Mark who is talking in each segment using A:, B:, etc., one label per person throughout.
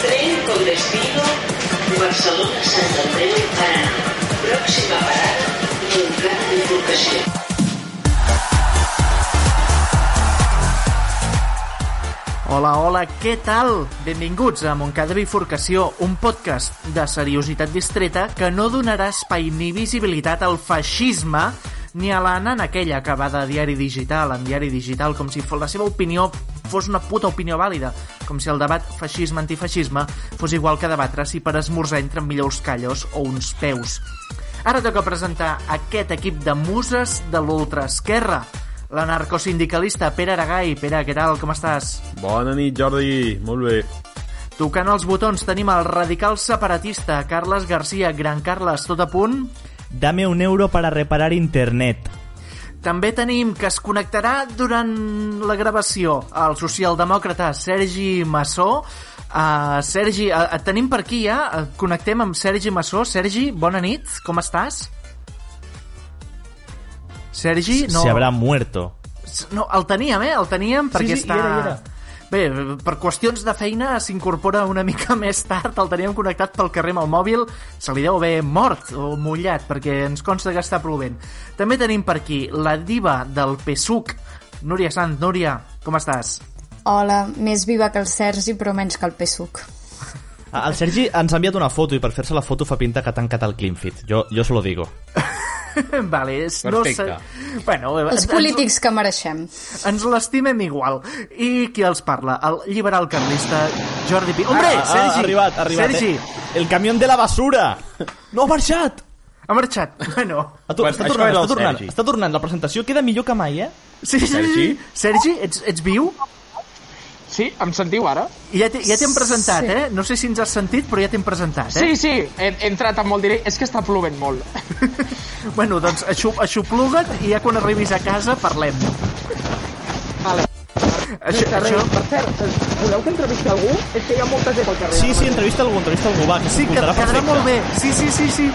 A: Tren con destino Barcelona, Sant Andreu y Paraná. Próxima parada, Montcada de Turcació.
B: Hola, hola, què tal? Benvinguts a Montcada Bifurcació, un podcast de seriositat distreta que no donarà espai ni visibilitat al feixisme ni a la nana aquella que va de diari digital en diari digital com si fos la seva opinió fos una puta opinió vàlida, com si el debat feixisme-antifeixisme fos igual que debatre si per esmorzar entren millor uns callos o uns peus. Ara toca presentar aquest equip de muses de l'ultraesquerra. L'anarcosindicalista Pere Aragai. Pere, què tal? Com estàs?
C: Bona nit, Jordi. Molt bé.
B: Tocant els botons tenim el radical separatista Carles Garcia, Gran Carles, tot a punt.
D: Dame un euro para reparar internet.
B: També tenim que es connectarà durant la gravació el socialdemòcrata Sergi Massó. Uh, Sergi, uh, et tenim per aquí ja, Eh, connectem amb Sergi Massó. Sergi, bona nit, com estàs? Sergi, no...
D: Se habrá muerto.
B: No, el teníem, eh? El teníem perquè
E: sí, hi
B: està...
E: era, hi era.
B: Bé, per qüestions de feina s'incorpora una mica més tard, el teníem connectat pel carrer amb el mòbil, se li deu haver mort o mullat, perquè ens consta que està plovent. També tenim per aquí la diva del PSUC, Núria Sant. Núria, com estàs?
F: Hola, més viva que el Sergi, però menys que el Pessuc.
D: Ah, El Sergi ens ha enviat una foto i per fer-se la foto fa pinta que ha tancat el CleanFit. Jo, jo se lo digo.
B: vale, és,
C: Perfecte.
B: No sé... Bueno,
F: Els
B: ens-
F: polítics que mereixem.
B: Ens l'estimem igual. I qui els parla? El liberal carlista Jordi Pi. Hombre,
D: Ah, ah,
B: Sergi!
D: Ha arribat, ha arribat.
B: Sergi!
D: Eh? El camión de la basura! No ha marxat!
B: Ha marxat. Bueno,
D: A tu,
C: Bueno,
D: està
C: això
D: tornant,
C: era el
D: està tornant,
C: Sergi.
D: està tornant. La presentació queda millor que mai, eh?
B: Sí, sí, Sergi?
C: Sergi?
B: Sergi, ets, ets viu?
G: Sí, em sentiu ara?
B: Ja t'he- ja t'hem presentat,
F: Sí.
B: eh? No sé si ens has sentit, però ja t'hem presentat, eh?
G: Sí, sí, he, he entrat amb molt directe. És que està plovent molt.
B: Bueno, doncs aixu- aixopluga't i ja quan arribis a casa parlem.
G: Vale.
B: Això, això...
G: Per cert, eh, voleu que entrevisti algú? És que hi ha molta gent al carrer. eh?
D: Sí, sí, entrevista algú, entrevista algú, va, que
B: Sí, que quedarà
D: s'escoltarà perfecte.
B: molt bé. Sí, sí, sí, sí.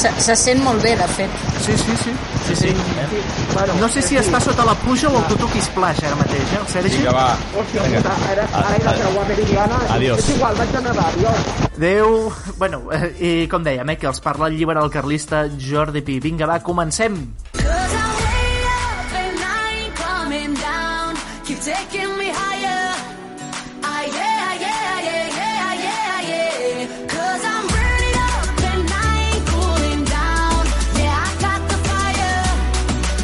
F: Se, se sent molt bé, de fet.
B: Sí, sí, sí.
D: Sí, sí. Eh?
G: Bueno,
B: No sé si està sota la pluja o el tutuki splash ara mateix, eh, el Sergi?
C: Vinga, va.
G: Hòstia, puta, ara, ara he de creuar Meridiana.
D: Adiós.
G: És igual, vaig a nedar, adiós.
B: Adéu. Bueno, eh, i com dèiem, eh, que els parla el liberal carlista Jordi Pi. Vinga, va, comencem.
H: Cause I'm way up and I ain't coming down. Keep taking me higher. Ah, yeah, yeah, yeah, yeah, ah, yeah, yeah. Cause I'm burning up and I ain't cooling down. Yeah, I got the fire.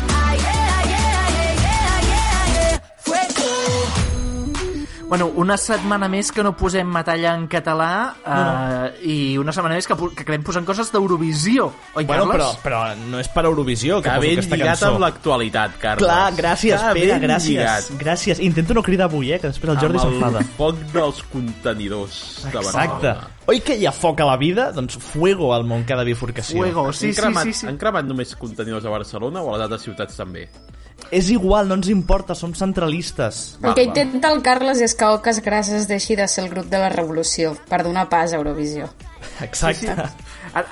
H: Ah, yeah, yeah, yeah, yeah, ah, yeah, yeah. Fuego.
B: Bueno, una setmana més que no posem metalla en català eh, i una setmana més que, pu- que acabem posant coses d'Eurovisió, oi,
D: Bueno,
B: Carles?
D: però, però no és per Eurovisió que,
C: Que
D: poso
C: ben
D: aquesta
C: lligat
D: cançó.
C: amb l'actualitat, Carles.
D: Clar, gràcies,
C: Que
D: Pere,
C: ben
D: gràcies.
C: lligat.
D: Gràcies. Intento no cridar avui, eh, que després el Jordi
C: amb
D: s'enfada.
C: el foc dels contenidors de
D: Exacte.
C: Barcelona.
D: Oi que hi ha foc a la vida? Doncs fuego al món cada bifurcació.
B: Fuego, Oh, sí,
C: han,
B: sí,
C: cremat,
B: sí, sí.
C: han cremat només contenidors a Barcelona o a les altres ciutats també?
D: És igual, no ens importa, som centralistes.
C: Va,
F: El que
C: va.
F: intenta el Carles és que Oques Grasses deixi de ser el grup de la revolució per donar pas a Eurovisió.
D: Exacte.
B: Ara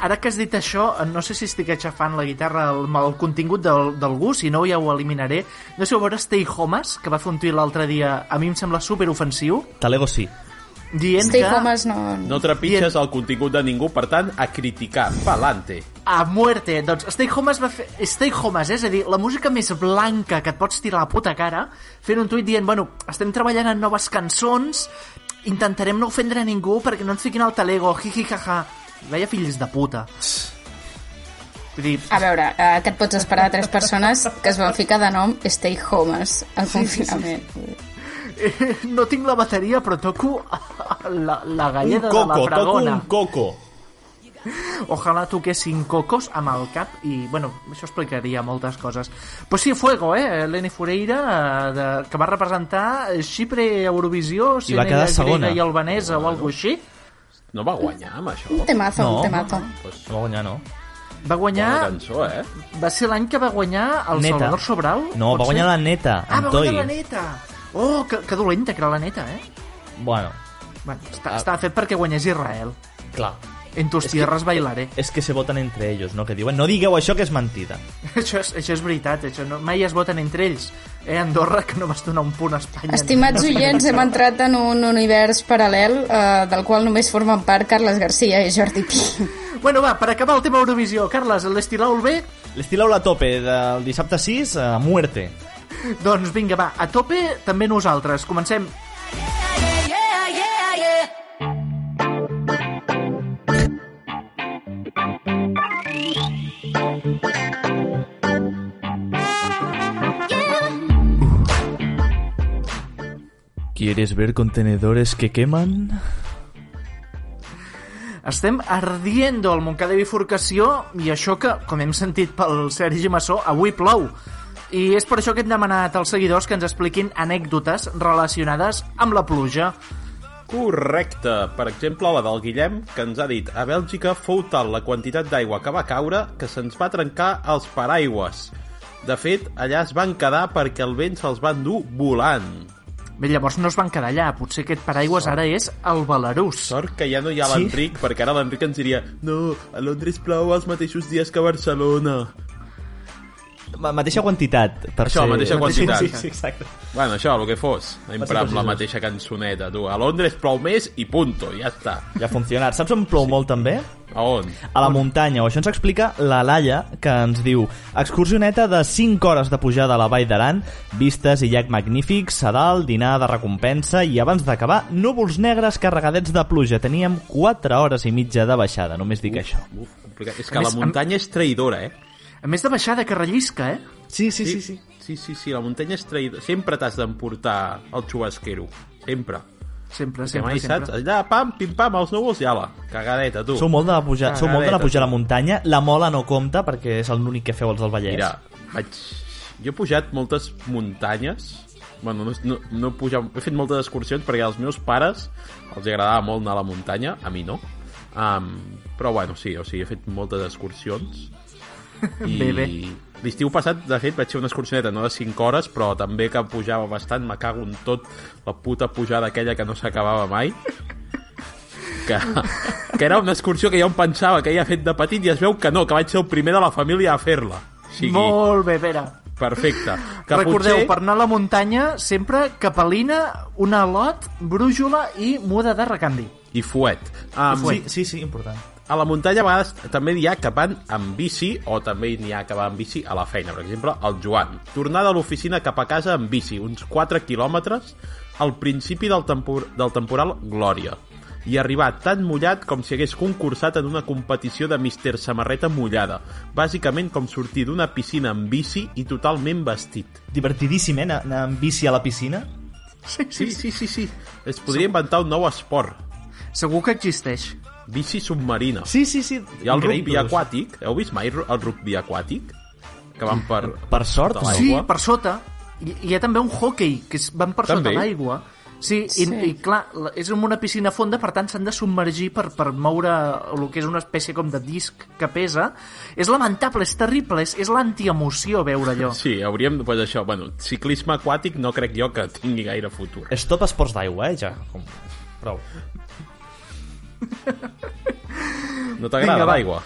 B: ara que has dit això, no sé si estic aixafant la guitarra el, el contingut del, d'algú, si no ja ho eliminaré. No sé si ho veuràs Stay Homes, que va fer un tuit l'altre dia, a mi em sembla superofensiu,
D: Talego sí.
B: dient
F: Stay
B: que
F: Homes no...
C: No trepitges el contingut de ningú, per tant, a criticar. Palante.
B: a muerte. Doncs Stay Homes va fer... Stay Homes, és a dir, la música més blanca que et pots tirar a la puta cara, fent un tuit dient, bueno, estem treballant en noves cançons, intentarem no ofendre a ningú perquè no ens fiquin al talego, jiji, jaja. Veia fills de puta. Vull dir,
D: Ah.
F: A veure, eh, què et pots esperar de tres persones que es van ficar de nom Stay Homes al confinament?
B: Eh, no tinc la bateria, però toco la, la
D: Un
B: galleda de la
D: coco, toco
B: fragona.
D: un coco.
B: Ojalá toquessin cocos amb el cap i, bueno, això explicaria moltes coses. Pues sí, Fuego, eh? Eleni Fureira, eh, de, que va representar Xipre a Eurovisió, sent
D: quedar
B: ella
D: segona.
B: grega i albanesa o alguna així.
C: No va guanyar amb això.
F: Un temazo,
D: No.
F: un temazo.
C: Pues,
D: Va guanyar, no?
B: Va
C: bona
B: guanyar...
C: cançó, eh?
B: Va ser l'any que va guanyar el
D: Neta.
B: Salvador Sobral?
D: No,
B: pot
D: va guanyar
B: ser?
D: la neta,
B: Ah, va
D: Antoi.
B: guanyar la neta! Oh, que, que dolenta que era la neta, eh?
D: Bueno,
B: Bueno, està, estava fet perquè guanyés Israel.
D: clar.
B: En tus
D: Ah. És que- eh,
B: tierras bailaré.
D: És que se voten entre ells, no? Que diuen, no digueu això que és mentida.
B: Això és, això és veritat, això no, mai es voten entre ells. Eh, Andorra, que no vas donar un punt a Espanya.
F: Estimats oients, hem entrat en un univers paral·lel eh, del qual només formen part Carles Garcia i Jordi Pi.
B: Bueno, va, per acabar el tema Eurovisió, Carles, l'estirau bé?
D: L'estileu la tope del dissabte 6 a muerte.
B: Doncs vinga, va, a tope també nosaltres. Comencem.
H: Yeah, yeah, ah, yeah, yeah.
D: ¿Quieres ver contenedores que queman?
B: Estem ardiendo al Montcada i Bifurcació i això que, com hem sentit pel Sergi Massó, avui plou. I és per això que hem demanat als seguidors que ens expliquin anècdotes relacionades amb la pluja.
C: Correcte. Per exemple, la del Guillem, que ens ha dit a Bèlgica fou tal la quantitat d'aigua que va caure que se'ns va trencar els paraigües. De fet, allà es van quedar perquè el vent se'ls va endur volant.
B: Bé, llavors no es van quedar allà, potser aquest paraigües ara és el Belarús.
C: Sort que ja no hi ha
D: Sí.
C: l'Enric, perquè ara l'Enric ens diria no, a Londres plou els mateixos dies que a Barcelona.
D: Ma- Mateixa quantitat. Per
C: Això,
D: ser...
C: mateixa quantitat.
D: Sí, sí, exacte.
C: Bueno, això, el que fos. Sempre amb la mateixa cançoneta, tu. A Londres plou més i punto, ja està.
D: Ja ha funcionat. Saps on plou molt també?
C: A on?
D: A la muntanya, o això ens explica la Laia, que ens diu excursioneta de 5 hores de pujada a la Vall d'Aran, vistes i llac magnífics, sedal, dinar de recompensa i abans d'acabar, núvols negres carregadets de pluja. Teníem 4 hores i mitja de baixada, només dic això.
C: Uf, complicat. és que
B: més,
C: la muntanya és traïdora, eh?
B: A més de baixar de que rellisca, eh?
D: Sí, sí, sí. sí.
C: Sí, sí, sí, la muntanya és traïdora. Sempre t'has d'emportar el xubasquero. Sempre.
B: Sempre,
C: Que
B: sempre,
C: mai
B: sempre.
C: saps? Allà, pam, pim-pam, els núvols i ala. Cagadeta, tu.
D: Sou molt de la pujar, sou molt de la
C: Cagadeta,
D: pujar a la
C: tu.
D: muntanya. La mola no compta perquè és l'únic que feu els del Vallès.
C: Mira, vaig... Jo he pujat moltes muntanyes, bueno, no, no, no he, pujat, he fet moltes excursions perquè als meus pares els agradava molt anar a la muntanya, a mi no. Um, però bueno, sí, o sigui, he fet moltes excursions. I
B: Bé, bé.
C: L'estiu passat, de fet, vaig fer una excursioneta, no de 5 hores, però també que pujava bastant, me cago en tot la puta pujada aquella que no s'acabava mai. Que, que era una excursió que jo em pensava que havia fet de petit i es veu que no, que vaig ser el primer de la família a fer-la. O sigui,
B: Molt bé, Pere.
C: Perfecte. Que
B: Recordeu,
C: potser...
B: per anar a la muntanya, sempre capelina, una lot, brújula i muda de recanvi.
C: I fuet. Um,
D: Ah, sí, sí, sí, important.
C: A la muntanya a vegades també n'hi ha que van amb bici o també n'hi ha que va amb bici a la feina. Per exemple, el Joan. Tornar de l'oficina cap a casa amb bici, uns 4 quilòmetres, al principi del, tempor del temporal Glòria. I arribar tan mullat com si hagués concursat en una competició de Mister Samarreta mullada. Bàsicament com sortir d'una piscina amb bici i totalment vestit.
D: Divertidíssim, eh? Anar, anar amb bici a la piscina.
C: Sí, sí, sí, sí. Es podria inventar un nou esport.
B: Segur que existeix.
C: Bici submarina.
D: Sí, sí, sí.
C: Hi ha el
D: Increïble.
C: rugby aquàtic. Heu vist mai el rugby aquàtic? Que van per...
D: Per sort,
C: de
D: no.
C: l'aigua.
B: Sí, per sota. Hi, hi ha també un hockey, que es van per
C: També.
B: sota l'aigua. Sí, i, sí, i clar, la- és en una piscina fonda, per tant s'han de submergir per, per moure el que és una espècie com de disc que pesa. És lamentable, és terrible, és, és l'antiemoció veure allò.
C: Sí, hauríem... Pues això, bueno, ciclisme aquàtic no crec jo que tingui gaire futur.
D: És tot esports d'aigua, eh, ja. Com... Prou.
C: No t'agrada
B: Vinga, va.
C: l'aigua?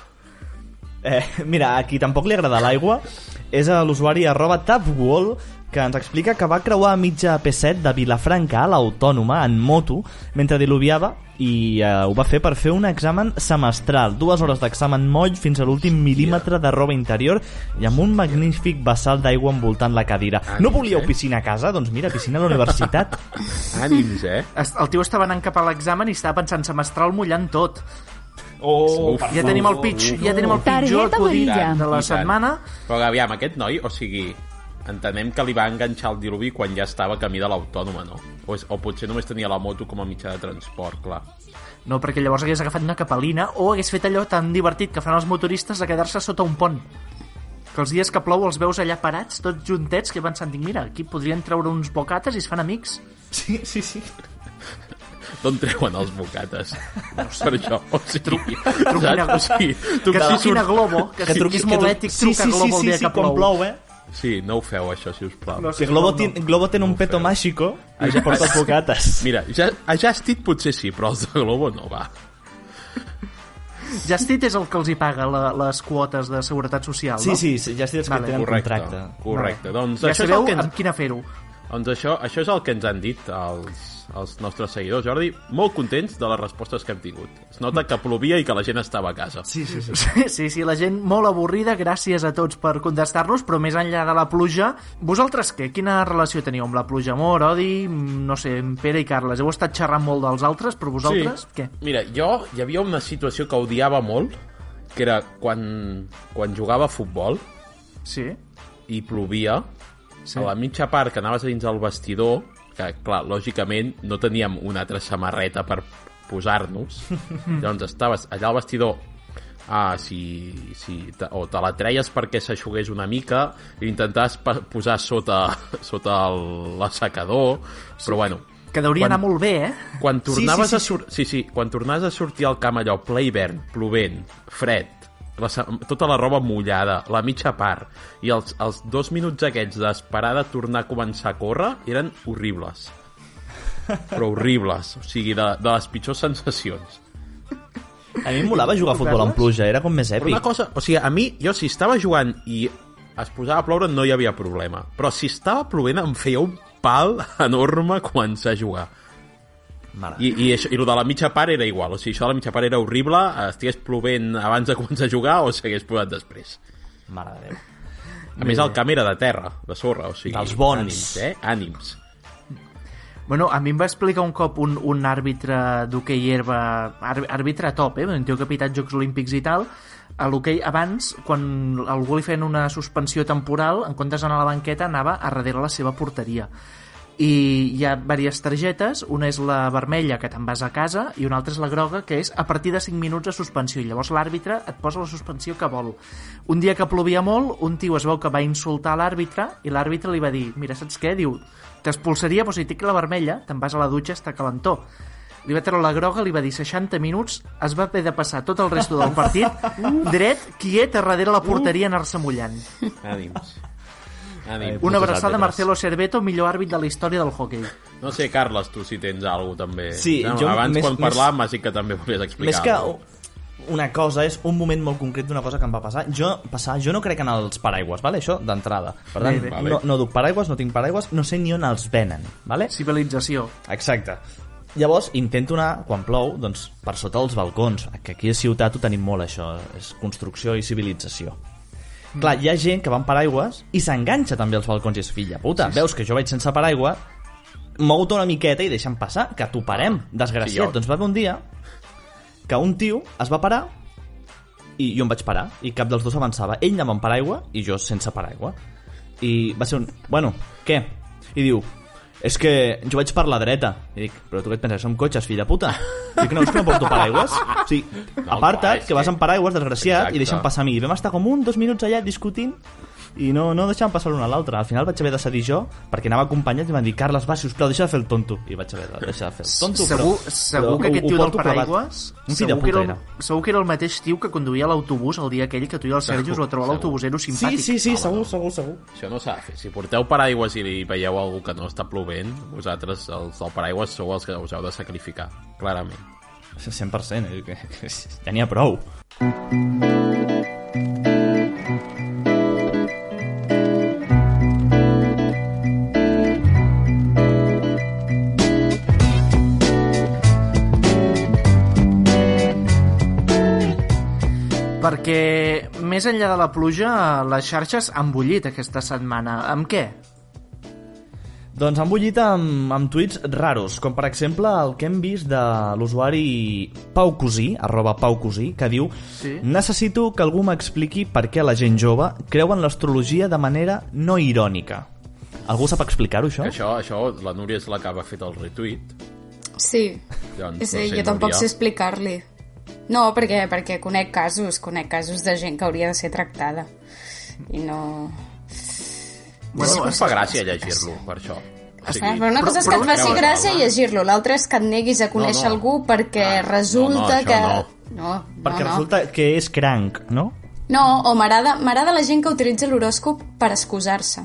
D: Eh, mira, a qui tampoc li agrada l'aigua és a l'usuari arroba tapwall que ens explica que va creuar a mitja P7 de Vilafranca a l'Autònoma en moto mentre diluviava i eh, ho va fer per fer un examen semestral. Dues hores d'examen moll fins a l'últim mil·límetre de roba interior i amb un magnífic vessal d'aigua envoltant la cadira. Ah, No volíeu piscina a casa? Doncs mira, piscina a la universitat.
C: Ànims, eh?
B: Es- El tio estava anant cap a l'examen i estava pensant semestral mullant tot.
D: Oh,
C: Uf,
B: Ja tenim el pitch, ja tenim el pitjor
E: Targeta
B: acudit
E: amarilla.
B: de
C: I
B: la
C: tant.
B: setmana.
C: Però aviam, aquest noi, o sigui, entenem que li va enganxar el diluvi quan ja estava camí de l'autònoma, no? O, és, o potser només tenia la moto com a mitjà de transport, clar.
B: No, perquè llavors hagués agafat una capelina o hagués fet allò tan divertit que fan els motoristes de quedar-se sota un pont. Que els dies que plou els veus allà parats, tots juntets, que van pensant, dic, mira, aquí podrien treure uns bocates i es fan amics.
D: Sí, sí, sí.
C: D'on treuen els bocates? No sé. Per això, o sigui...
B: Truquin a,
C: saps? O sigui, tu
B: que
C: si
B: truquin a
C: surt-
B: Globo, que, que, truqui, és molt
D: truqui-
B: ètic
D: sí,
B: trucar
D: sí,
B: a Globo
D: sí,
B: el dia
D: sí,
B: que
D: quan
B: plou.
D: plou, eh?
C: Sí, no ho feu, això, si us plau.
B: No
D: Si
B: sé,
D: Globo,
B: no,
D: ten, Globo ten un peto mágico i ja porta els bocates.
C: Mira, ja, a Justit potser sí, però els de Globo no, va.
B: Justit és el que els hi paga la, les quotes de Seguretat Social,
D: Sí,
B: no?
D: sí, sí, ja estic que
B: Vale.
D: tenen
C: Correcte,
D: contracte.
C: correcte. Doncs
B: Ja
C: això és
B: sabeu
C: el que ens,
B: amb quina fer-ho.
C: Doncs això, això és el que ens han dit els, els nostres seguidors, Jordi. Molt contents de les respostes que hem tingut. Es nota que plovia i que la gent estava a casa.
D: Sí, sí, sí.
B: Sí, sí, sí, la gent molt avorrida, gràcies a tots per contestar-nos, però més enllà de la pluja, vosaltres què? Quina relació teniu amb la pluja? Amor, odi, Mm, no sé, en Pere i Carles, heu estat xerrant molt dels altres, però vosaltres què?
C: Mira, jo hi havia una situació que odiava molt, que era quan, quan jugava a futbol
B: Sí?
C: i plovia, sí. a la mitja part que anaves a dins del vestidor, que, clar, lògicament no teníem una altra samarreta per posar-nos, llavors estaves allà al vestidor ah, si, si te, o te la treies perquè s'aixugués una mica i intentaves pa- posar sota, sota el- l'assecador, però bueno,
B: Que deuria
C: Quan-
B: quan... anar molt bé, eh?
C: quan
D: sí,
C: tornaves
D: sí,
C: a sur... sí, sí, quan tornaves a sortir al camp allò ple hivern, plovent, fred, la, sa- tota la roba mullada, la mitja part, i els, els dos minuts aquests d'esperar de tornar a començar a córrer eren horribles. Però horribles, o sigui, de, de les pitjors sensacions.
D: A mi em molava jugar a futbol en pluja, era com més
C: Però una
D: èpic.
C: cosa, o sigui, a mi, jo si estava jugant i es posava a ploure no hi havia problema, però si estava plovent em feia un pal enorme començar a jugar.
D: Mare.
C: I, i, això, I el de la mitja part era igual, o sigui, això de la mitja part era horrible, estigués plovent abans de començar a jugar o s'hagués posat després.
D: Mare de Déu.
C: A més, el camp era de terra, de sorra, o sigui...
D: Dels bons.
C: Ànims, eh? Ànims.
B: Bueno, a mi em va explicar un cop un, un àrbitre d'hoquei herba, àr- àrbitre top, eh? un tio que ha pitat Jocs Olímpics i tal, a l'hoquei abans, quan algú li feien una suspensió temporal, en comptes d'anar a la banqueta, anava a darrere la seva porteria. I hi ha diverses targetes, una és la vermella, que te'n vas a casa, i una altra és la groga, que és a partir de 5 minuts de suspensió. I llavors l'àrbitre et posa la suspensió que vol. Un dia que plovia molt, un tio es veu que va insultar l'àrbitre, i l'àrbitre li va dir, mira, saps què? Diu, t'expulsaria, però si et tinc la vermella, te'n vas a la dutxa, està calentó. Li va treure la groga, li va dir 60 minuts, es va haver de passar tot el resto del partit, dret, quiet, a darrere la porteria, anar-se mullant.
C: Ànims. Ànims.
B: Una abraçada
C: Moltes
B: a
C: àrbitres.
B: Marcelo Cerveto, millor àrbit de la història del hockey.
C: No sé, Carles, tu si tens alguna cosa, també.
D: Sí,
C: no,
D: jo
C: abans,
D: més-
C: quan
D: més-
C: parlàvem, sí que també volies explicar.
D: Més que
C: alguna cosa.
D: una cosa és un moment molt concret d'una cosa que em va passar. Jo, passar, jo no crec en els paraigües, vale? això d'entrada. Per tant,
B: Bé, bé.
D: No, no duc paraigües, no tinc paraigües, no sé ni on els venen. Vale?
B: Civilització.
D: Exacte. Llavors, intento anar, quan plou, doncs, per sota dels balcons, que aquí a ciutat ho tenim molt, això, és construcció i civilització. Clar, hi ha gent que va amb paraigües i s'enganxa també als balcons i és filla puta. Sí, Veus que jo vaig sense paraigua, mou-te una miqueta i deixa'm passar, que t'ho parem, desgraciat.
C: Sí, jo.
D: doncs va haver un dia que un tio es va parar i jo em vaig parar i cap dels dos avançava. Ell anava amb paraigua i jo sense paraigua. I va ser un... Bueno, què? I diu... És que jo vaig per la dreta. I dic, però tu què et penses? Som cotxes, fill de puta. Dic, no, és que no porto paraigües. O sigui,
C: No, clar,
D: aparta't,
C: és
D: que vas
C: que-
D: amb paraigües, desgraciat,
C: Exacte.
D: i deixa'm passar a mi. I vam estar com un, dos minuts allà discutint i no, no deixàvem passar l'un a l'altre. Al final vaig haver de cedir jo, perquè anava acompanyat i van dir, Carles, va, sisplau, deixa de fer el tonto. I vaig haver de deixar de fer el tonto.
B: segur,
D: però,
B: segur
D: però
B: que aquest
D: ho- ho
B: tio del
D: porto clavat.
B: paraigües...
D: Un fill de
B: segur que,
D: puta
B: el,
D: era.
B: segur que era el mateix tio que conduïa l'autobús el dia aquell que tu i el Sergi us va trobar a
C: segur.
B: l'autobusero
D: Sí,
B: simpàtic.
D: sí, sí,
C: Home,
D: segur,
C: no.
D: segur, segur.
C: Això no s'ha de fer. Si porteu paraigües i li veieu algú que no està plovent, vosaltres, els del paraigües, sou els que us heu de sacrificar, clarament.
D: 100%, eh? que- ja n'hi ha prou.
B: Perquè, més enllà de la pluja, les xarxes han bullit aquesta setmana. Amb què?
D: Doncs han bullit amb, amb tuits raros, com per exemple el que hem vist de l'usuari Pau Cosí, arroba Pau Cosí, que diu sí. Necessito que algú m'expliqui per què la gent jove creu en l'astrologia de manera no irònica. Algú sap explicar-ho, això?
C: Que això, això, la Núria és la que va fet el retuit.
F: Sí,
C: Doncs,
F: sí
C: no sé,
F: jo tampoc
C: Núria.
F: sé explicar-li. No, perquè, perquè conec casos, conec casos de gent que hauria de ser tractada. I no...
C: Bueno, no, em fa gràcia llegir-lo, per això. O
F: Ah, però una cosa és que et faci gràcia llegir-lo, l'altra és que et neguis a
C: eh?
F: conèixer
C: no.
F: algú perquè
C: Ah, no, no,
F: resulta
C: això
F: que...
C: no.
F: No,
D: Perquè
F: no, no.
D: resulta que és cranc, no?
F: No, o m'agrada m'agrada la gent que utilitza l'horòscop per excusar-se.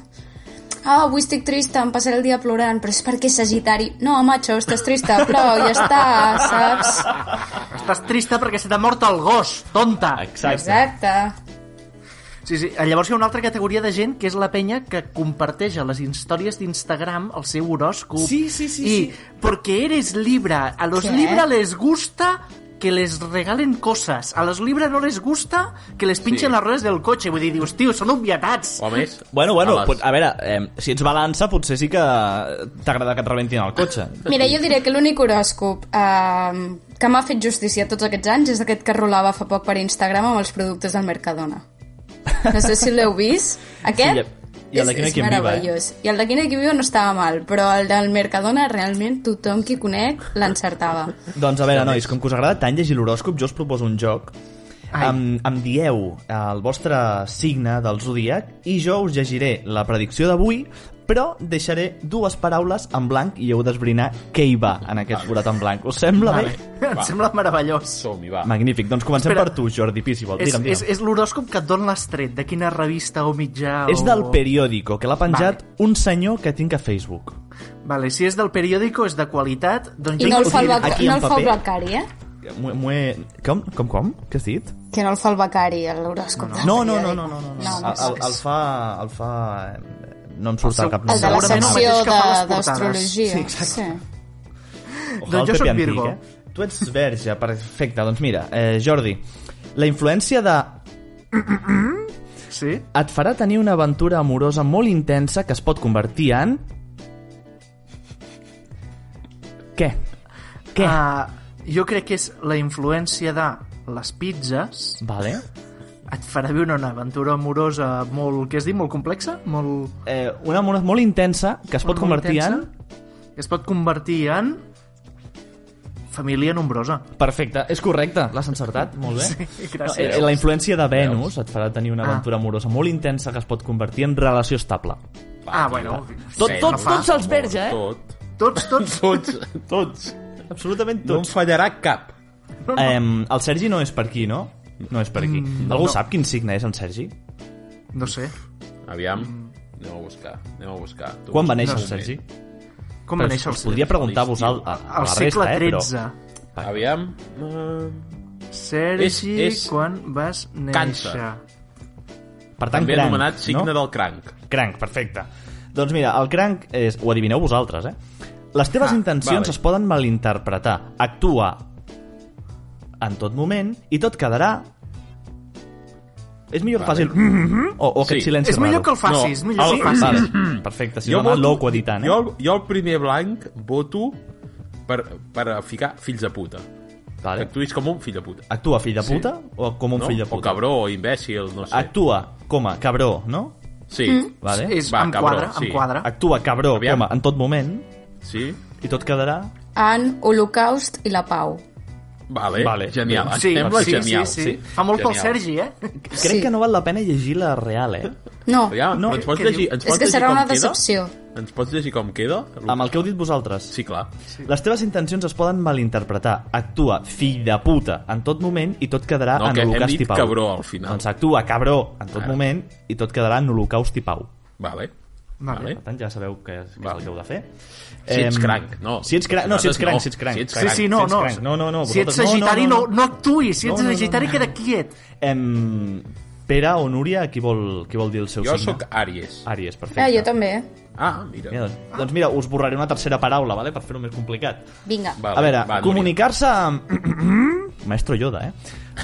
F: Ah, avui estic trista, em passaré el dia plorant, però és perquè és sagitari. No, macho, estàs trista, però ja està, saps?
B: Estàs trista perquè se t'ha mort el gos, tonta.
F: Exacte.
B: Sí, sí. Llavors hi ha una altra categoria de gent que és la penya que comparteix a les històries d'Instagram el seu horòscop.
D: Sí, sí, sí,
B: I
D: sí.
B: porque eres Libra, a los
F: Què?
B: Libra les gusta que les regalen coses. A los Libra no les gusta que les pinxen
C: Sí.
B: les rodes del cotxe. Vull dir, dius, tio, són obvietats.
C: O més...
D: Bueno, bueno,
C: les-
D: pot, a veure, eh, si ets balança potser sí que t'agrada que et rebentin el cotxe.
F: Mira, jo diré que l'únic horòscop eh, que m'ha fet justícia tots aquests anys és aquest que rolava fa poc per Instagram amb els productes del Mercadona. No sé si l'heu vist. Aquest
D: Sí, i- i el de
F: és-
D: Quina
F: és
D: Qui Viva, eh?
F: meravellós. I el de Quina Qui Viva no estava mal, però el del Mercadona realment tothom qui conec l'encertava.
D: Doncs a veure, nois, com que us agrada tant llegir l'horòscop, jo us proposo un joc.
B: Ai.
D: Em, em dieu el vostre signe del zodiac i jo us llegiré la predicció d'avui, però deixaré dues paraules en blanc i heu d'esbrinar què hi va en aquest forat en blanc. Us sembla
B: Vale.
D: bé?
B: Em sembla meravellós.
C: Som-hi, va.
D: Magnífic. Doncs comencem
B: Espera.
D: per tu, Jordi Pi, si vols.
B: És,
D: Digue'm,
B: és,
D: digue'm.
B: és l'horòscop que et don l'estret, de quina revista o mitjà
D: És
B: o...
D: del periòdico, que l'ha penjat un senyor que tinc a Facebook.
B: Vale, si és del periòdico, és de qualitat. Doncs
F: I
B: jo
F: no el
B: dic-
F: fa el, beca...
D: Aquí
F: no
D: en
F: el, fa el
D: paper.
F: becari, eh?
D: M'ho- m'ho he- Com, com, com? Què has dit?
F: Que no el fa el becari, l'horòscop. del
D: No, no, no,
F: periòdic.
D: no, no, no. no.
F: no,
D: El, el, el fa... El fa... eh, No em surt
B: El seu-
D: al cap.
F: el de la
B: Segurament el
F: secció
B: mateix que fa les
F: de-
B: portades.
F: d'astrologia.
D: Sí, exacte. Ojalà
B: Doncs jo
D: el Pepe
B: sóc
D: Antich,
B: Virgo.
D: eh? Tu ets verge, perfecte. Doncs mira, eh, Jordi, la influència de
B: Sí?
D: et farà tenir una aventura amorosa molt intensa que es pot convertir en... Què? Què? Ah.
B: Uh, jo crec que és la influència de les pizzas
D: Vale.
B: et farà viure una aventura amorosa molt, què es diu, molt complexa? Molt,
D: Eh, una amor molt intensa que es pot
B: molt
D: convertir
B: intensa, que Es pot convertir en família nombrosa.
D: en... Perfecte, és correcte, l'has encertat, molt bé. Sí,
B: gràcies.
D: eh, La influència de Venus et farà tenir una
B: Ah.
D: aventura amorosa molt intensa que es pot convertir en relació estable.
B: Ah, bueno.
D: Tot,
C: Sí,
D: tot,
C: no fa
D: tots els
C: amor,
D: verge, eh?
C: Tot,
B: Tots, tots.
C: tots, tots.
D: Absolutament
C: No en fallarà cap.
D: Eh, el Sergi no és per aquí, no? Mm, No és per aquí. Algú sap quin signe és el Sergi?
B: No sé.
C: Aviam, anem a buscar, anem a buscar. Tu
D: Quan va
C: busca
D: néixer
C: un
D: el
C: moment.
D: Sergi?
B: Com va
D: Però
B: néixer el
D: us podria preguntar a, vos, a, a, a
B: Al
D: la
B: segle
D: resta, eh? Però...
B: XIII.
C: Aviam... eh,
B: Sergi,
C: És- és
B: quan vas néixer?
C: càncer.
D: Per tant,
C: També
D: cranc,
C: anomenat signe
D: no?
C: del cranc.
D: Cranc, perfecte. Doncs mira, el cranc és... Ho adivineu vosaltres, eh? Les teves
C: Ah,
D: intencions
C: vale.
D: es poden malinterpretar. Actua en tot moment i tot quedarà... És millor
C: Vale.
D: fàcil... Mm -hmm, o, o aquest
C: Sí.
D: silenci
B: És millor que el facis,
C: No,
B: millor que
C: el-
B: el facis. Mm,
D: Vale, perfecte, si jo no anar loco editant, eh?
C: jo, el- jo el primer blanc voto per, per ficar fills de puta.
D: Vale.
C: Que Actuïs com un fill de puta.
D: Actua fill de puta sí. o com un
C: no?
D: fill de
C: O
D: puta? Ah.
C: cabró, o imbècil, no sé.
D: Actua com a cabró, no?
C: Sí,
B: Mm.
D: Vale.
B: És,
C: eh? Va,
B: em
C: cabró,
B: quadra,
C: sí.
B: em quadra.
D: Actua cabró
C: Aviam.
D: com a en tot moment
C: sí.
D: i tot quedarà...
F: En Holocaust i la Pau.
C: Vale,
D: Vale.
C: genial.
B: Sí,
C: em sembla
B: sí,
C: genial.
B: sí, sí, Fa molt
C: genial.
B: pel Sergi, eh?
D: Crec
F: Sí.
D: que no val la pena llegir la real, eh?
F: No,
C: Aviam,
D: No,
C: però ens pots
B: què
C: llegir,
B: diu?
C: ens
F: és
C: pots
F: que
C: llegir
F: serà
C: com
F: una
C: queda?
F: decepció.
C: Ens pots llegir com queda?
D: Amb el que heu dit vosaltres.
C: Sí, clar.
D: Les teves intencions es poden malinterpretar. Actua, fill de puta, en tot moment i tot quedarà
C: No,
D: en
C: que hem
D: holocaust i
C: dit
D: pau.
C: cabró al final.
D: Doncs actua, cabró, en tot
C: Ara.
D: moment i tot quedarà en holocaust i pau.
C: Vale.
B: Vale.
D: Per tant, ja sabeu què és, què és
C: Vale.
D: el que heu de fer.
C: Si ets
D: Em,
C: cranc, no.
D: Si ets cranc, no, si ets cranc,
C: No.
D: si ets cranc.
C: Si ets
B: Sí,
C: cranc,
B: sí, no,
D: si ets
B: no.
D: cranc. No, no, no,
B: Si ets
D: vosaltres- no, no,
B: sagitari,
D: no,
B: no, no, actuï. Si
D: No,
B: ets
D: no, no,
B: sagitari,
D: no.
B: queda quiet.
D: Em, Pere o Núria, qui vol, qui vol dir el seu
C: Jo
D: signe?
C: sóc Àries.
D: Àries, perfecte.
F: Ah, jo també.
C: Ah, mira.
D: Mira, doncs, doncs mira, us borraré una tercera paraula, vale? per fer-ho més complicat.
F: Vinga.
C: Vale,
D: A veure,
C: va, Núria.
D: comunicar-se amb... Maestro Yoda, eh?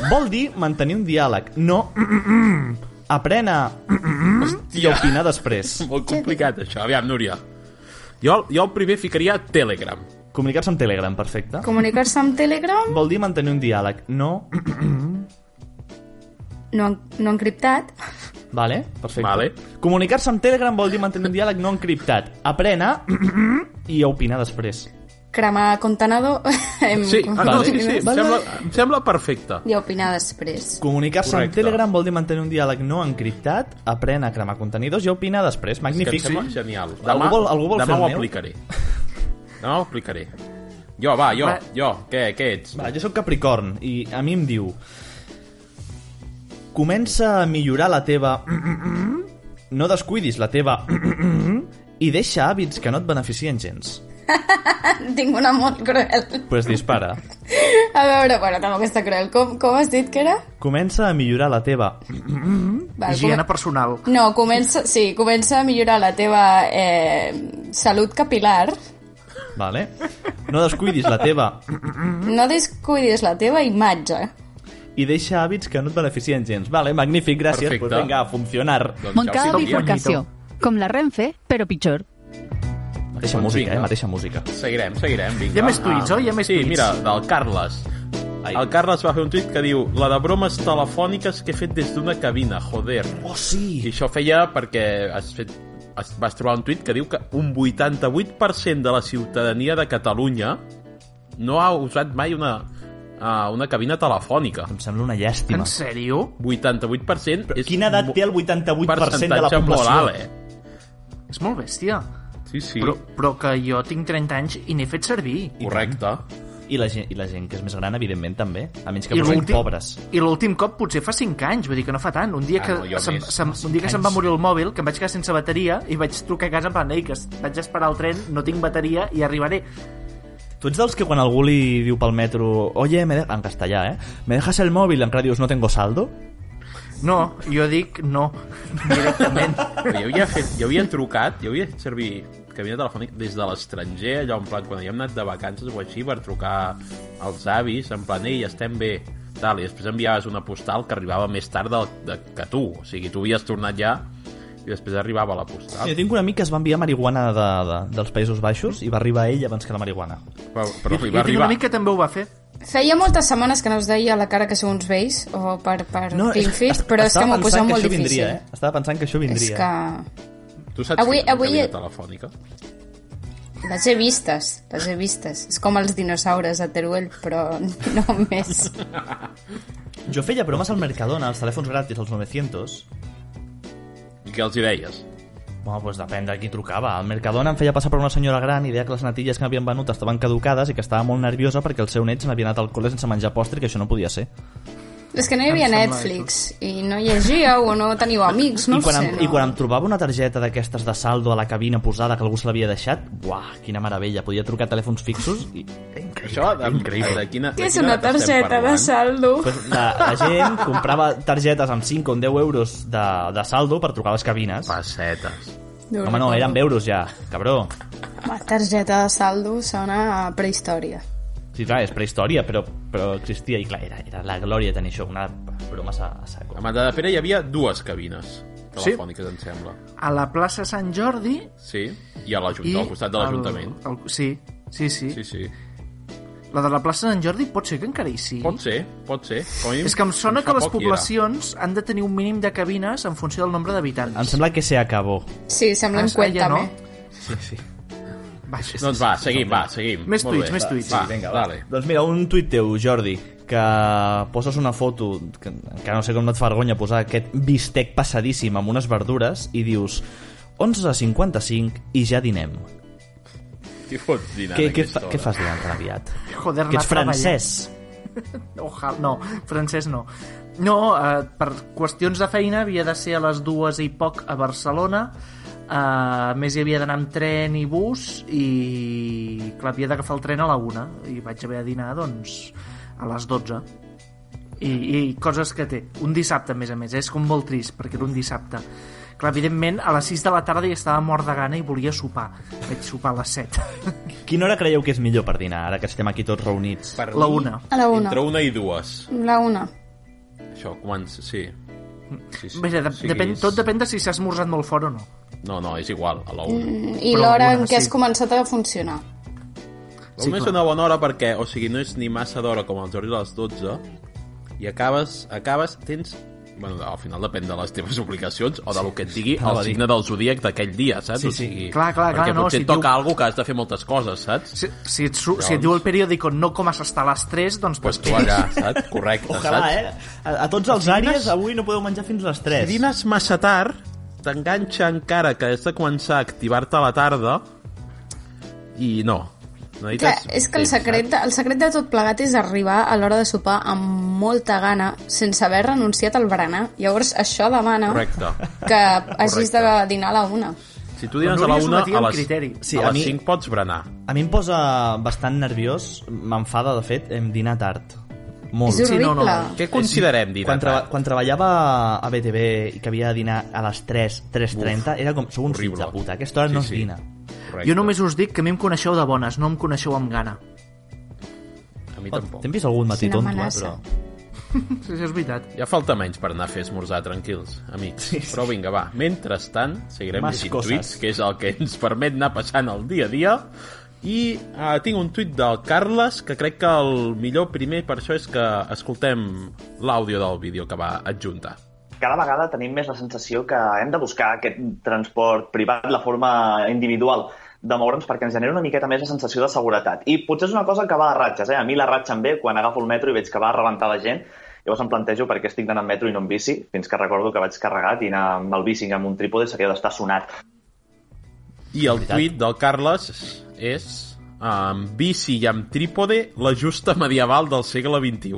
D: Vol dir mantenir un diàleg, no... Aprèn a... I opinar després.
C: Molt complicat, això. Aviam, Núria. Jo, jo el primer ficaria Telegram.
D: Comunicar-se amb Telegram, perfecte.
F: Comunicar-se amb Telegram,
D: Vol dir mantenir un diàleg. No.
F: no, en- no encriptat.
D: Vale, perfecte.
C: Vale.
D: Comunicar-se amb Telegram vol dir mantenir un diàleg no encriptat. Aprena i opinar després.
F: Cremar contenedor. em-
C: Sí, ah, no,
D: Vale.
C: sí, sí,
D: Vale,
C: em, sembla,
D: vale.
C: em sembla perfecte.
F: I opinar després.
D: Comunicar-se amb
C: Correcte.
D: Telegram vol dir mantenir un diàleg no encriptat, aprena a cremar contenidors i opinar després.
C: Que em
D: Magnífic.
C: sembla genial. Demà,
D: algú vol, algú vol
C: demà
D: fer
C: ho
D: el meu?
C: aplicaré. Demà ho aplicaré. Jo, va, jo,
B: Va.
C: jo, què, què ets? Doncs
D: Va, jo sóc Capricorn i a mi em diu Comença a millorar la teva... No descuidis la teva... I deixa hàbits que no et beneficien gens.
F: Tinc una molt cruel.
D: Pues dispara.
F: A veure, bueno, tampoc està cruel. Com, com has dit que era?
D: Comença a millorar la teva...
F: Val,
B: Higiene
F: comen-
B: personal.
F: No, comença, sí, comença a millorar la teva eh, salut capilar.
D: Vale? No descuidis la teva... Mhm.
F: No descuidis la teva imatge.
D: I deixa hàbits que no et beneficien gens. Vale, magnífic, gràcies.
C: Perfecte.
D: Pues vinga, a funcionar.
C: Doncs
E: Montcada
C: ja ho sabíem.
E: bifurcació. Com la Renfe, però pitjor.
D: Mateixa
C: Doncs
D: música, eh?
C: vinga.
D: Mateixa música.
C: Seguirem, seguirem, vinga. Ah,
B: Hi ha més tuits, oi? Hi ha més
C: sí,
B: tuits.
C: mira, del Carles.
D: Ai.
C: El Carles va fer un tuit que diu La de bromes telefòniques que he fet des d'una cabina, joder.
D: Oh,
C: I
D: sí!
C: això feia perquè has fet, has, vas trobar un tuit que diu que un 88% de la ciutadania de Catalunya no ha usat mai una, uh, una cabina telefònica.
D: Em sembla una llàstima.
B: En sèrio?
C: 88%
D: Però
C: és
D: quina edat
C: mo-
D: té el 88% de la
C: percentatge molt
D: població?
C: alt, eh?
B: És molt bèstia.
C: Sí, sí.
B: Però, però que jo tinc 30 anys i n'he fet servir.
C: Correcte.
D: I la, gent, I la gent que és més gran, evidentment, també. A menys que
B: I
D: fossin
B: l'últim-
D: pobres.
B: I l'últim cop potser fa 5 anys, vull dir que no fa tant. Un dia
C: Ah,
B: que,
C: no, jo
B: se'm,
C: més.
B: se'm, un dia que se'm va morir el mòbil, que em vaig quedar sense bateria, i vaig trucar a casa en plan, ei, que es- vaig a esperar el tren, no tinc bateria i arribaré.
D: Tu ets dels que quan algú li diu pel metro Oye, me de... en castellà, eh? Me dejas el mòbil, encara dius no tengo saldo?
B: No, jo dic no, directament.
C: Però jo havia, fet, jo havia trucat, jo havia fet servir cabina telefònica des de l'estranger, allò en plan, quan havíem anat de vacances o així, per trucar als avis, en plan, ei, estem bé, tal, i després enviaves una postal que arribava més tard del, de, que tu, o sigui, tu havies tornat ja i després arribava la
B: Ah.
C: postal.
D: Jo tinc un amic que es va enviar marihuana de, de, dels Països Baixos i va arribar ell abans que la marihuana.
C: Però, però
B: jo
C: li va
B: tinc un
C: arribar.
B: amic que també ho va fer.
F: Feia moltes setmanes que no us deia la cara que sou uns vells, o per, per no, Pinfit,
D: est-
F: però és que
D: estava
F: m'ho posa
D: pensant
F: molt
D: això
F: difícil.
D: Vindria, eh? Estava pensant que això
F: És
D: vindria.
F: que
C: Tu saps
F: Avui-
C: avui, que
F: avui-
C: avui... cabina telefònica?
F: les he vistes, les he vistes. És com els dinosaures a Teruel, però no més.
D: Jo feia bromes al Mercadona, als telèfons gratis, als 900.
C: I què els hi deies?
D: Bueno, doncs depèn de qui trucava. Al Mercadona em feia passar per una senyora gran i deia que les natilles que m'havien venut estaven caducades i que estava molt nerviosa perquè el seu net se n'havia anat al col·le sense menjar postre i que això no podia ser.
F: És que no hi havia Netflix, i no llegíeu, o no teníeu amics, no
D: I quan,
F: ho sé.
D: em,
F: no?
D: I quan em trobava una targeta d'aquestes de saldo a la cabina posada que algú se l'havia deixat, buah, quina meravella, podia trucar a telèfons fixos i...
C: Això, de, de quina...
F: Què
C: de
F: és
C: quina
F: una
C: edat estem
F: targeta de
C: parlant?
F: saldo?
D: Pues la, la gent comprava targetes amb 5 o 10 euros de, de saldo per trucar a les cabines.
C: Pessetes.
F: Déu
D: Home, no,
F: recordo.
D: eren euros ja, cabró.
F: La targeta de saldo sona a prehistòria.
D: Sí, clar, és prehistòria, però, però existia i clar, era, era la glòria tenir això, una broma a, a saco.
C: A Matadepera hi havia dues cabines telefòniques, sí? em sembla.
B: A la plaça Sant Jordi...
C: Sí, i a
B: I
C: l'Ajuntament, al costat de
B: el-
C: l'Ajuntament.
B: el- Sí, sí, sí,
C: Sí, sí.
B: La de la plaça Sant Jordi pot ser que encara hi sigui.
C: Pot ser, pot ser. Com a mínim,
B: És que em sona que
C: fa
B: les
C: poc hi era.
B: poblacions han de tenir un mínim de cabines en funció del nombre d'habitants.
D: Em sembla que se acabó.
F: Sí, sembla
B: Ah,
F: en
B: ja no?
F: Cuéntame.
B: Vaja,
C: Doncs va, seguim, va, seguim.
B: Més
C: Molt
B: tuits,
C: bé.
B: més tuits.
C: Va,
B: Sí,
C: vinga, dale.
D: Doncs mira, un tuit teu, Jordi, que poses una foto, que encara no sé com no et fa vergonya posar aquest bistec passadíssim amb unes verdures, i dius 11.55 i ja dinem.
C: Qui fots dinar
D: Què,
C: en
D: què,
C: aquesta
D: fa,
C: hora?
D: què fas dinant tan aviat?
B: Joder,
D: Que ets
B: anar a treballar.
D: francès.
B: Ojalà, no, francès no. No, eh, per qüestions de feina havia de ser a les dues i poc a Barcelona, eh, a més hi havia d'anar amb tren i bus i clar, havia d'agafar el tren a la una i vaig haver de dinar doncs a les 12 I, i coses que té, un dissabte a més a més eh, és com molt trist perquè era un dissabte clar, evidentment a les 6 de la tarda ja estava mort de gana i volia sopar vaig sopar a les 7
D: Quina hora creieu que és millor per dinar, ara que estem aquí tots reunits?
C: Per
B: la
C: mi,
B: una
F: A la una.
C: Entre una i dues.
F: La una.
C: Això, comença... Sí. Sí, sí.
B: Mira, de,
C: O sigui,
B: Mm. depèn,
C: és-
B: tot depèn de si s'ha esmorzat molt fort o no
C: No, no, és igual, a la una. Mm,
F: I
B: Però
F: l'hora
B: alguna,
F: en què
B: sí.
F: has començat a funcionar.
C: sí, Només una bona hora perquè, o sigui, no és ni massa d'hora com els horaris de les 12 i acabes, acabes, tens... Bueno, al final depèn de les teves obligacions o de lo que et digui
D: anava
C: el
D: a dir.
C: signe del zodíac d'aquell dia, saps?
D: Sí,
C: O sigui,
B: sí. Clar, clar, clar,
C: perquè
B: no,
C: potser
B: si
C: et toca
B: diu-
C: algo que has de fer moltes coses, saps?
B: Si, si, et, su- si et diu el periòdico no comes hasta les 3, doncs...
C: Pues tu allà, saps? Correcte,
D: Ojalà,
C: saps?
D: eh? A, a tots els àries avui no podeu menjar fins a les 3.
C: Si dines massa tard, t'enganxa encara que has de començar a activar-te a la tarda i no.
F: Clar,
C: Necessites
F: és que el
C: temps,
F: secret, el secret de tot plegat és arribar a l'hora de sopar amb molta gana, sense haver renunciat al berenar. Llavors, això demana
C: Correcte.
F: que hagis de
C: Correcte.
F: dinar a la una.
C: saps? Si tu
B: Però
C: dines
B: no
C: a la
B: hauries de
C: una,
B: dir
C: a
B: amb
C: les,
B: criteri.
D: Sí,
C: a
D: a
C: les
D: mi-
C: 5 pots berenar.
D: A mi em posa bastant nerviós, m'enfada, de fet, em dinar tard. Molt.
F: És horrible.
B: no, no, no.
C: Què considerem dinar
D: quan, traba,
C: tard?
D: quan treballava a BTV i que havia de dinar a les 3, 3.30, era com, sou uns fills
C: horrible.
D: de puta, a aquesta hora
C: Sí,
D: no es
C: sí.
D: dina.
C: Correcte.
B: Jo només us dic que a mi em coneixeu de bones, no em coneixeu amb gana.
C: A mi
D: Oh,
C: tampoc.
D: T'hem vist algun matí
F: Quina
D: tonto, eh,
F: amenaça.
D: però...
B: Sí, sí, és veritat.
C: Ja falta menys per anar a fer esmorzar, tranquils, amics.
D: Sí, sí.
C: Però vinga, va. Mentrestant, seguirem
D: Més
C: llegint
D: coses.
C: tuits, que és el que ens permet anar passant el dia a dia. I eh, tinc un tuit del Carles, que crec que el millor primer per això és que escoltem l'àudio del vídeo que va adjuntar.
I: cada vegada tenim més la sensació que hem de buscar aquest transport privat, la forma individual de moure'ns perquè ens genera una miqueta més la sensació de seguretat. I potser és una cosa que va a ratxes, eh? A mi la ratxa em ve quan agafo el metro i veig que va a rebentar la gent, llavors em plantejo per què estic anant amb metro i no amb bici, fins que recordo que vaig carregat i anar amb el bici amb un trípode seria d'estar sonat.
C: I el tuit del Carles és eh, amb bici i amb trípode la justa medieval del segle XXI.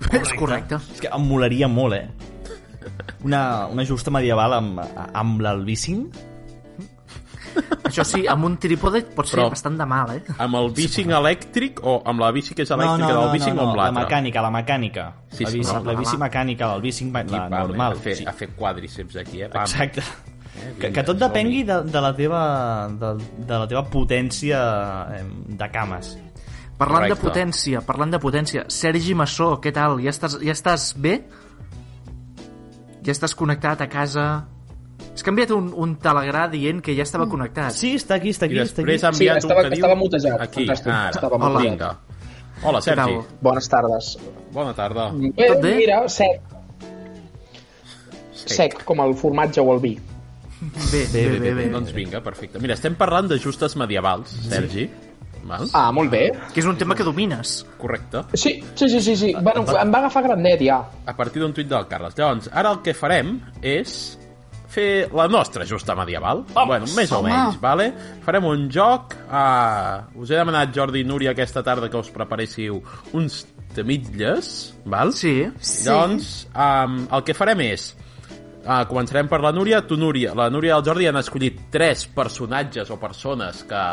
B: Correcte. És correcte.
D: És que em molaria molt, eh? Una, una justa medieval amb, amb l'albícing.
B: Això sí, amb un trípode pot ser
C: Però-
B: Però... bastant de mal, eh?
C: Amb el bicing elèctric o amb la bici que és elèctrica del bicing o amb
D: la
C: l'altra?
D: mecànica, la mecànica.
C: Sí,
D: la,
C: sí,
D: bici,
C: no,
D: la,
B: la-
D: bici mecànica, l'albícing, la
C: pam,
D: normal.
C: A fer,
D: sí.
C: a fer quadríceps aquí, eh? Pam.
D: Exacte. Que, que
C: vinga,
D: tot
C: som-hi.
D: depengui de, de, la teva, de, de la teva potència em, de cames.
B: Parlant
C: Correcte.
B: de potència, parlant de potència, Sergi Massó, què tal? Ja estàs, ja estàs bé? Ja estàs connectat a casa? És que ha enviat un, un telegrà dient que ja estava connectat.
D: Sí, està aquí, està
C: I
D: aquí. Està aquí.
C: després ha enviat
G: Sí, estava-
C: un que diu...
G: estava mutejat.
C: Aquí,
G: Fantàstic.
C: ara.
G: Estava
C: Hola.
G: mutejat.
C: Vinga. Hola, Sergi.
B: tal?
G: Bones tardes.
C: Bona tarda.
J: Mm,
G: Bé,
B: Tot bé?
G: Eh, mira, sec. Sec, com el formatge o el vi.
B: Bé, bé, bé, bé. bé,
C: Doncs vinga, perfecte. Mira, estem parlant de justes medievals, Sergi. Val?
G: Ah, molt bé.
B: Que és un tema que domines.
C: Correcte.
G: Sí, sí, sí, sí. sí. Bueno, em va agafar grandet, ja.
C: A partir d'un tuit del Carles. Llavors, ara el que farem és fer la nostra justa medieval. Vamos, bueno, més o
F: Home.
C: menys, vale? Farem un joc. Uh, us he demanat, Jordi i Núria, aquesta tarda que us preparéssiu uns temitlles, val?
B: Sí.
F: Sí.
C: Doncs um, el que farem és uh, començarem per la Núria, tu Núria la Núria i el Jordi han escollit tres personatges o persones que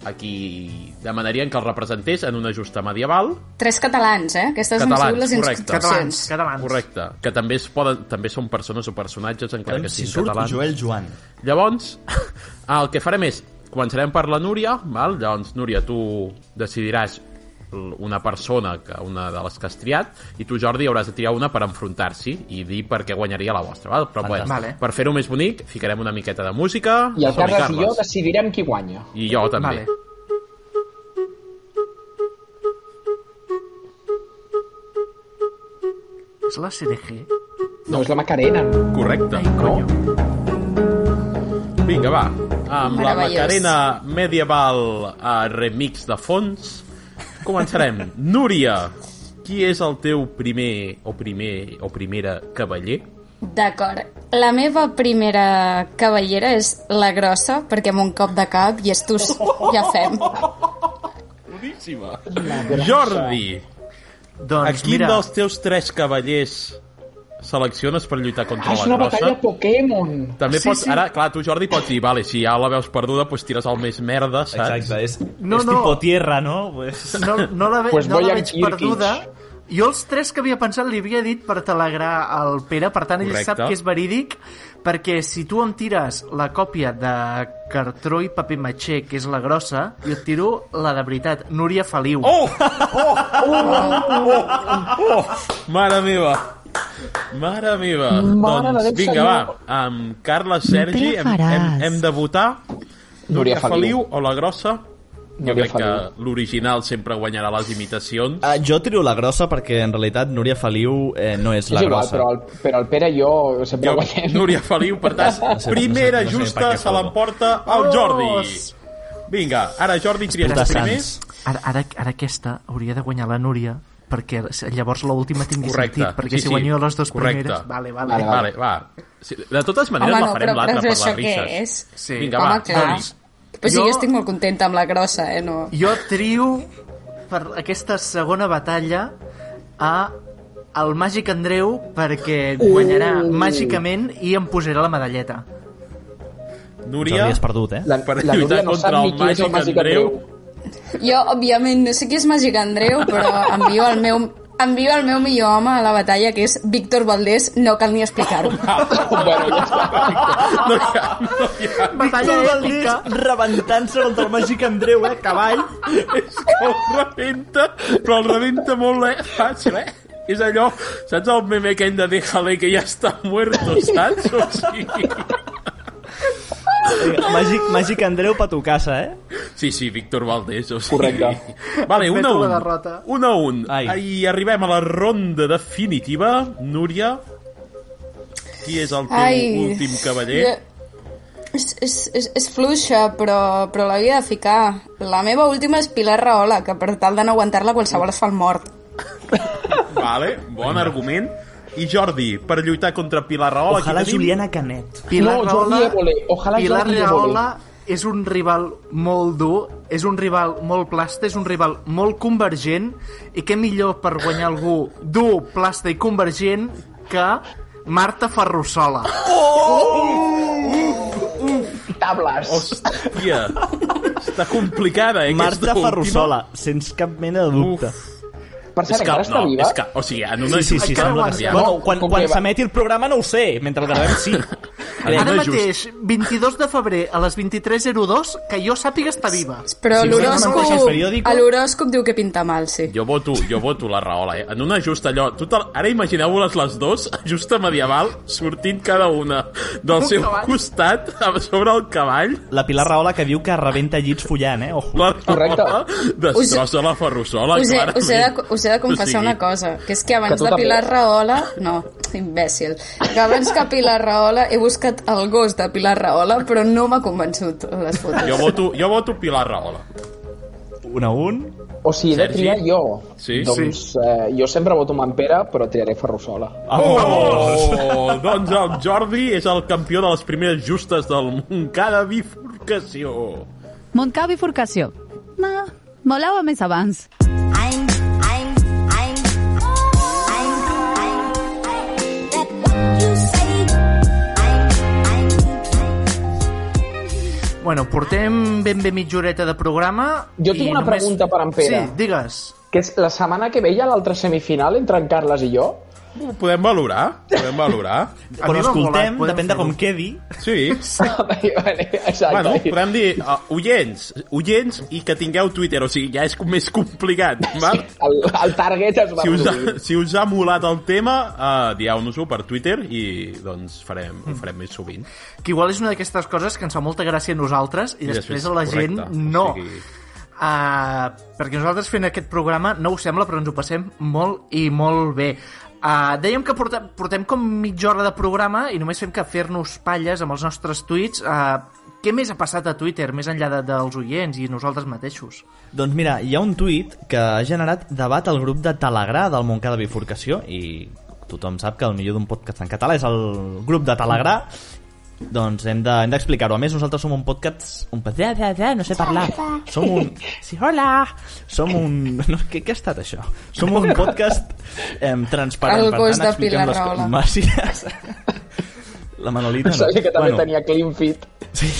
C: a qui demanarien que els representés en una justa medieval
F: Tres catalans, eh? Aquestes han
C: Catalans,
F: sigut les
C: correcte.
B: Catalans,
F: inscripcions.
B: catalans.
C: correcte, que també es poden també són persones o personatges encara
D: Veurem
C: que
D: si
C: siguin
D: surt
C: catalans
D: Joel Joan.
C: llavors, el que farem és començarem per la Núria val? llavors Núria, tu decidiràs l- una persona, que una de les que has triat i tu Jordi hauràs de triar una per enfrontar-s'hi i dir per què guanyaria la vostra val? però bueno,
B: Vale.
C: per fer-ho més bonic ficarem una miqueta de música
G: I el
C: Som-hi,
G: Carles i jo decidirem qui guanya.
C: i jo també
B: Vale. És la CDG?
G: No, és la Macarena.
C: Correcte.
B: Ai, coño.
C: Vinga, va. Amb la
F: Meravellós.
C: Macarena Medieval a remix de fons, començarem. Núria, qui és el teu primer o primer o primera cavaller?
F: D'acord. La meva primera cavallera és la grossa, perquè amb un cop de cap i estus ja fem.
C: Boníssima. Jordi, a
B: Doncs
C: quin
B: mira,
C: dels teus tres cavallers selecciones per lluitar contra
G: Ah, és
C: la
G: una
C: grossa?
G: batalla Pokémon.
C: També
B: Sí,
C: pots,
B: sí.
C: ara, clar, tu Jordi pots dir, vale, si ja la veus perduda, doncs tires el més merda, saps?
D: Exacte, és,
B: No,
D: és
B: no.
D: tipo tierra, no? Pues...
B: no, no la, ve,
G: Pues
B: pues no la
G: Bojan
B: veig
G: Kirkic.
B: perduda. Jo els tres que havia pensat li havia dit per telegrà al Pere, per tant ell
C: Correcte.
B: sap que és verídic, perquè si tu em tires la còpia de cartró i paper matxer, que és la grossa, jo et tiro la de veritat, Núria Feliu.
C: Oh! Oh! Oh! oh! Mare meva! Mare meva.
J: Mare
C: doncs,
J: de Déu,
C: vinga,
J: senyor.
C: va. Amb Carla Sergi
J: Pere
C: hem, hem,
J: Faràs.
C: hem de votar.
J: Núria
C: Núria Feliu o la grossa? Jo crec que
D: Feliu.
C: l'original sempre guanyarà les imitacions.
D: Ah, jo trio la grossa perquè en realitat Núria Feliu eh, no és la
J: és igual,
D: grossa.
J: però el, però el Pere i jo sempre
D: Jo-
J: guanyem.
C: Núria Feliu, per tant,
D: sé-
C: primera
D: no sé- no sé per
C: justa
D: què
C: se l'emporta el
B: Vamos!
C: Jordi. Vinga, ara Jordi
B: Espera,
C: Trias primer.
B: Ara, ara, ara aquesta hauria de guanyar la Núria perquè llavors l'última tingui
C: Correcte.
B: sentit perquè
C: sí,
B: si guanyo
C: sí.
B: les dues
C: Correcte.
B: primeres vale, vale.
C: Vale, vale, va. Sí, de totes maneres
F: Home,
C: la
F: no,
C: farem
F: però-
C: l'altra
F: però
C: per
F: això
C: les
F: què
C: risques.
F: és?
C: Sí. Vinga,
F: Home,
C: va,
F: clar.
C: Jordi.
F: Però sí,
B: Jo-
F: jo estic molt contenta amb la grossa, eh? No.
B: Jo trio per aquesta segona batalla a el màgic Andreu perquè
J: Uh.
B: guanyarà màgicament i em posarà la medalleta.
C: Núria...
D: Jordi, has perdut, eh?
J: La,
C: Per
J: la
C: lluitar
J: Núria no sap
C: contra
J: ni
C: el
J: qui és el
C: màgic
J: màgic
C: Andreu.
J: Andreu.
F: Jo, òbviament, no sé qui és Màgic Andreu, però envio el meu, envio el meu millor home a la batalla, que és Víctor Valdés, no cal ni explicar-ho.
J: bueno, ja està.
B: Batalla èpica.
D: rebentant-se contra el màgic Andreu, eh? Cavall.
C: és que el rebenta, però el rebenta molt eh? fàcil, eh? És allò, saps el meme aquell de déjale que ja està muerto, saps? O sigui...
D: Màgic, màgic Andreu pa tu casa, eh?
C: Sí, sí, Víctor Valdés, o sigui...
J: Correcte.
C: Vale, un a
B: Admeto la
C: un.
B: derrota.
C: Un a un.
D: Ai.
C: I arribem a la ronda definitiva. Núria, qui és el teu últim cavaller?
F: jo- És, és, és, és fluixa, però, però l'havia de ficar. La meva última és Pilar Rahola, que per tal de no aguantar-la qualsevol es fa el mort.
C: Vale, bon argument. I Jordi, per lluitar contra Pilar Rahola...
D: Ojalà
C: qui tenim?
D: Juliana Canet.
B: Pilar
J: No, Jordi
B: Rahola,
J: Évole. Ojalá
B: Pilar
J: Jordi Évole.
B: Rahola és un rival molt dur, és un rival molt plasta, és un rival molt convergent, i què millor per guanyar algú dur, plasta i convergent que Marta Ferrusola.
J: Tables.
C: Hòstia, està complicada, eh?
D: Marta
C: aquesta última.
D: Ferrusola, sense cap mena de dubte.
C: Uf,
J: Per cert, encara està viva?
C: És que, o sigui, en una
D: Sí, sí, sí,
B: Encara
D: sembla que sí.
B: guanya.
D: Bueno, quan,
J: Com
D: quan
J: que va-
D: s'emeti el programa no ho sé, mentre el gravem sí.
C: Crec.
B: Ara
C: No és just.
B: mateix, 22 de febrer, a les 23.02, que jo sàpiga està viva.
F: Però
D: Si no mateix el periòdico-
F: l'horòscop a l'horòscop diu que pinta mal, sí.
C: Jo voto, jo voto la Rahola, eh? En una justa allò... Tu te... Ara imagineu-vos les dues, justa medieval, sortint cada una del
B: Un
C: seu
B: cavall.
C: costat, a sobre el cavall,
D: La Pilar Rahola que diu que rebenta llits follant, eh? Ojo.
C: la
J: Correcte.
C: Rahola destrossa la Ferrusola,
F: Us he,
C: clarament.
F: us, he de, us he de confessar
C: O sigui,
F: una cosa, que és que
J: Que
F: abans
J: tu
F: de
J: també.
F: Pilar Rahola... No, imbècil. Que abans que Pilar Rahola he buscat el gos de Pilar Rahola, però no m'ha convençut les fotos.
C: Jo voto, jo voto Pilar Rahola.
D: Un a un.
J: O sigui, he de
C: Sergi?
J: triar jo.
C: Sí.
J: doncs eh, jo sempre voto amb en Pere, però triaré Ferrusola.
C: Oh! Doncs el Jordi és el campió de les primeres justes del Montcada Bifurcació.
E: Montcada bifurcació. Ma, molava més abans.
B: Bueno, portem ben bé mitja horeta de programa.
J: Jo tinc
B: i
J: una pregunta per en Pere.
B: Sí, digues.
J: Que és la setmana que ve hi ha l'altra semifinal entre en Carles i jo?
C: Ho podem valorar? Podem valorar?
D: Quan
B: mi m'ha
D: escoltem,
B: molat, podem
D: depèn de com
B: fer-ho.
D: quedi.
C: Sí.
J: Exacte.
C: Bueno, podem dir uh, oients, oients i que tingueu Twitter, o sigui, ja és com més complicat, val?
J: El, el target es va
C: Si us, ha,
J: produir.
C: si us ha molat el tema, uh, dieu-nos-ho per Twitter i doncs farem, ho farem més sovint.
B: Que igual és una d'aquestes coses que ens fa molta gràcia a nosaltres i,
C: I
B: després
C: després,
B: a la gent
C: correcte,
B: no.
C: o sigui-
B: Ah, perquè nosaltres fent aquest programa no ho sembla, però ens ho passem molt i molt bé. Uh, dèiem que portem, portem com mitja hora de programa i només fem que fer-nos palles amb els nostres tuits. Uh, què més ha passat a Twitter, més enllà de, dels oients i nosaltres mateixos?
D: Doncs mira, hi ha un tuit que ha generat debat al grup de Telegrà del Montcada Bifurcació i tothom sap que el millor d'un podcast en català és el grup de Telegrà doncs hem de- hem d'explicar-ho. a més, nosaltres som un podcast... Un... pe- eh, eh, eh, No sé parlar. Som un... Sí, hola! Som un... No, què, què ha estat això? Som un podcast eh, transparent.
F: El
D: per
F: gos
D: tant,
F: de
D: expliquem
F: Pilar
D: les
F: Rahola.
D: Màcies. La Manolita no.
J: Sabia que també tenia clean fit.
D: Sí.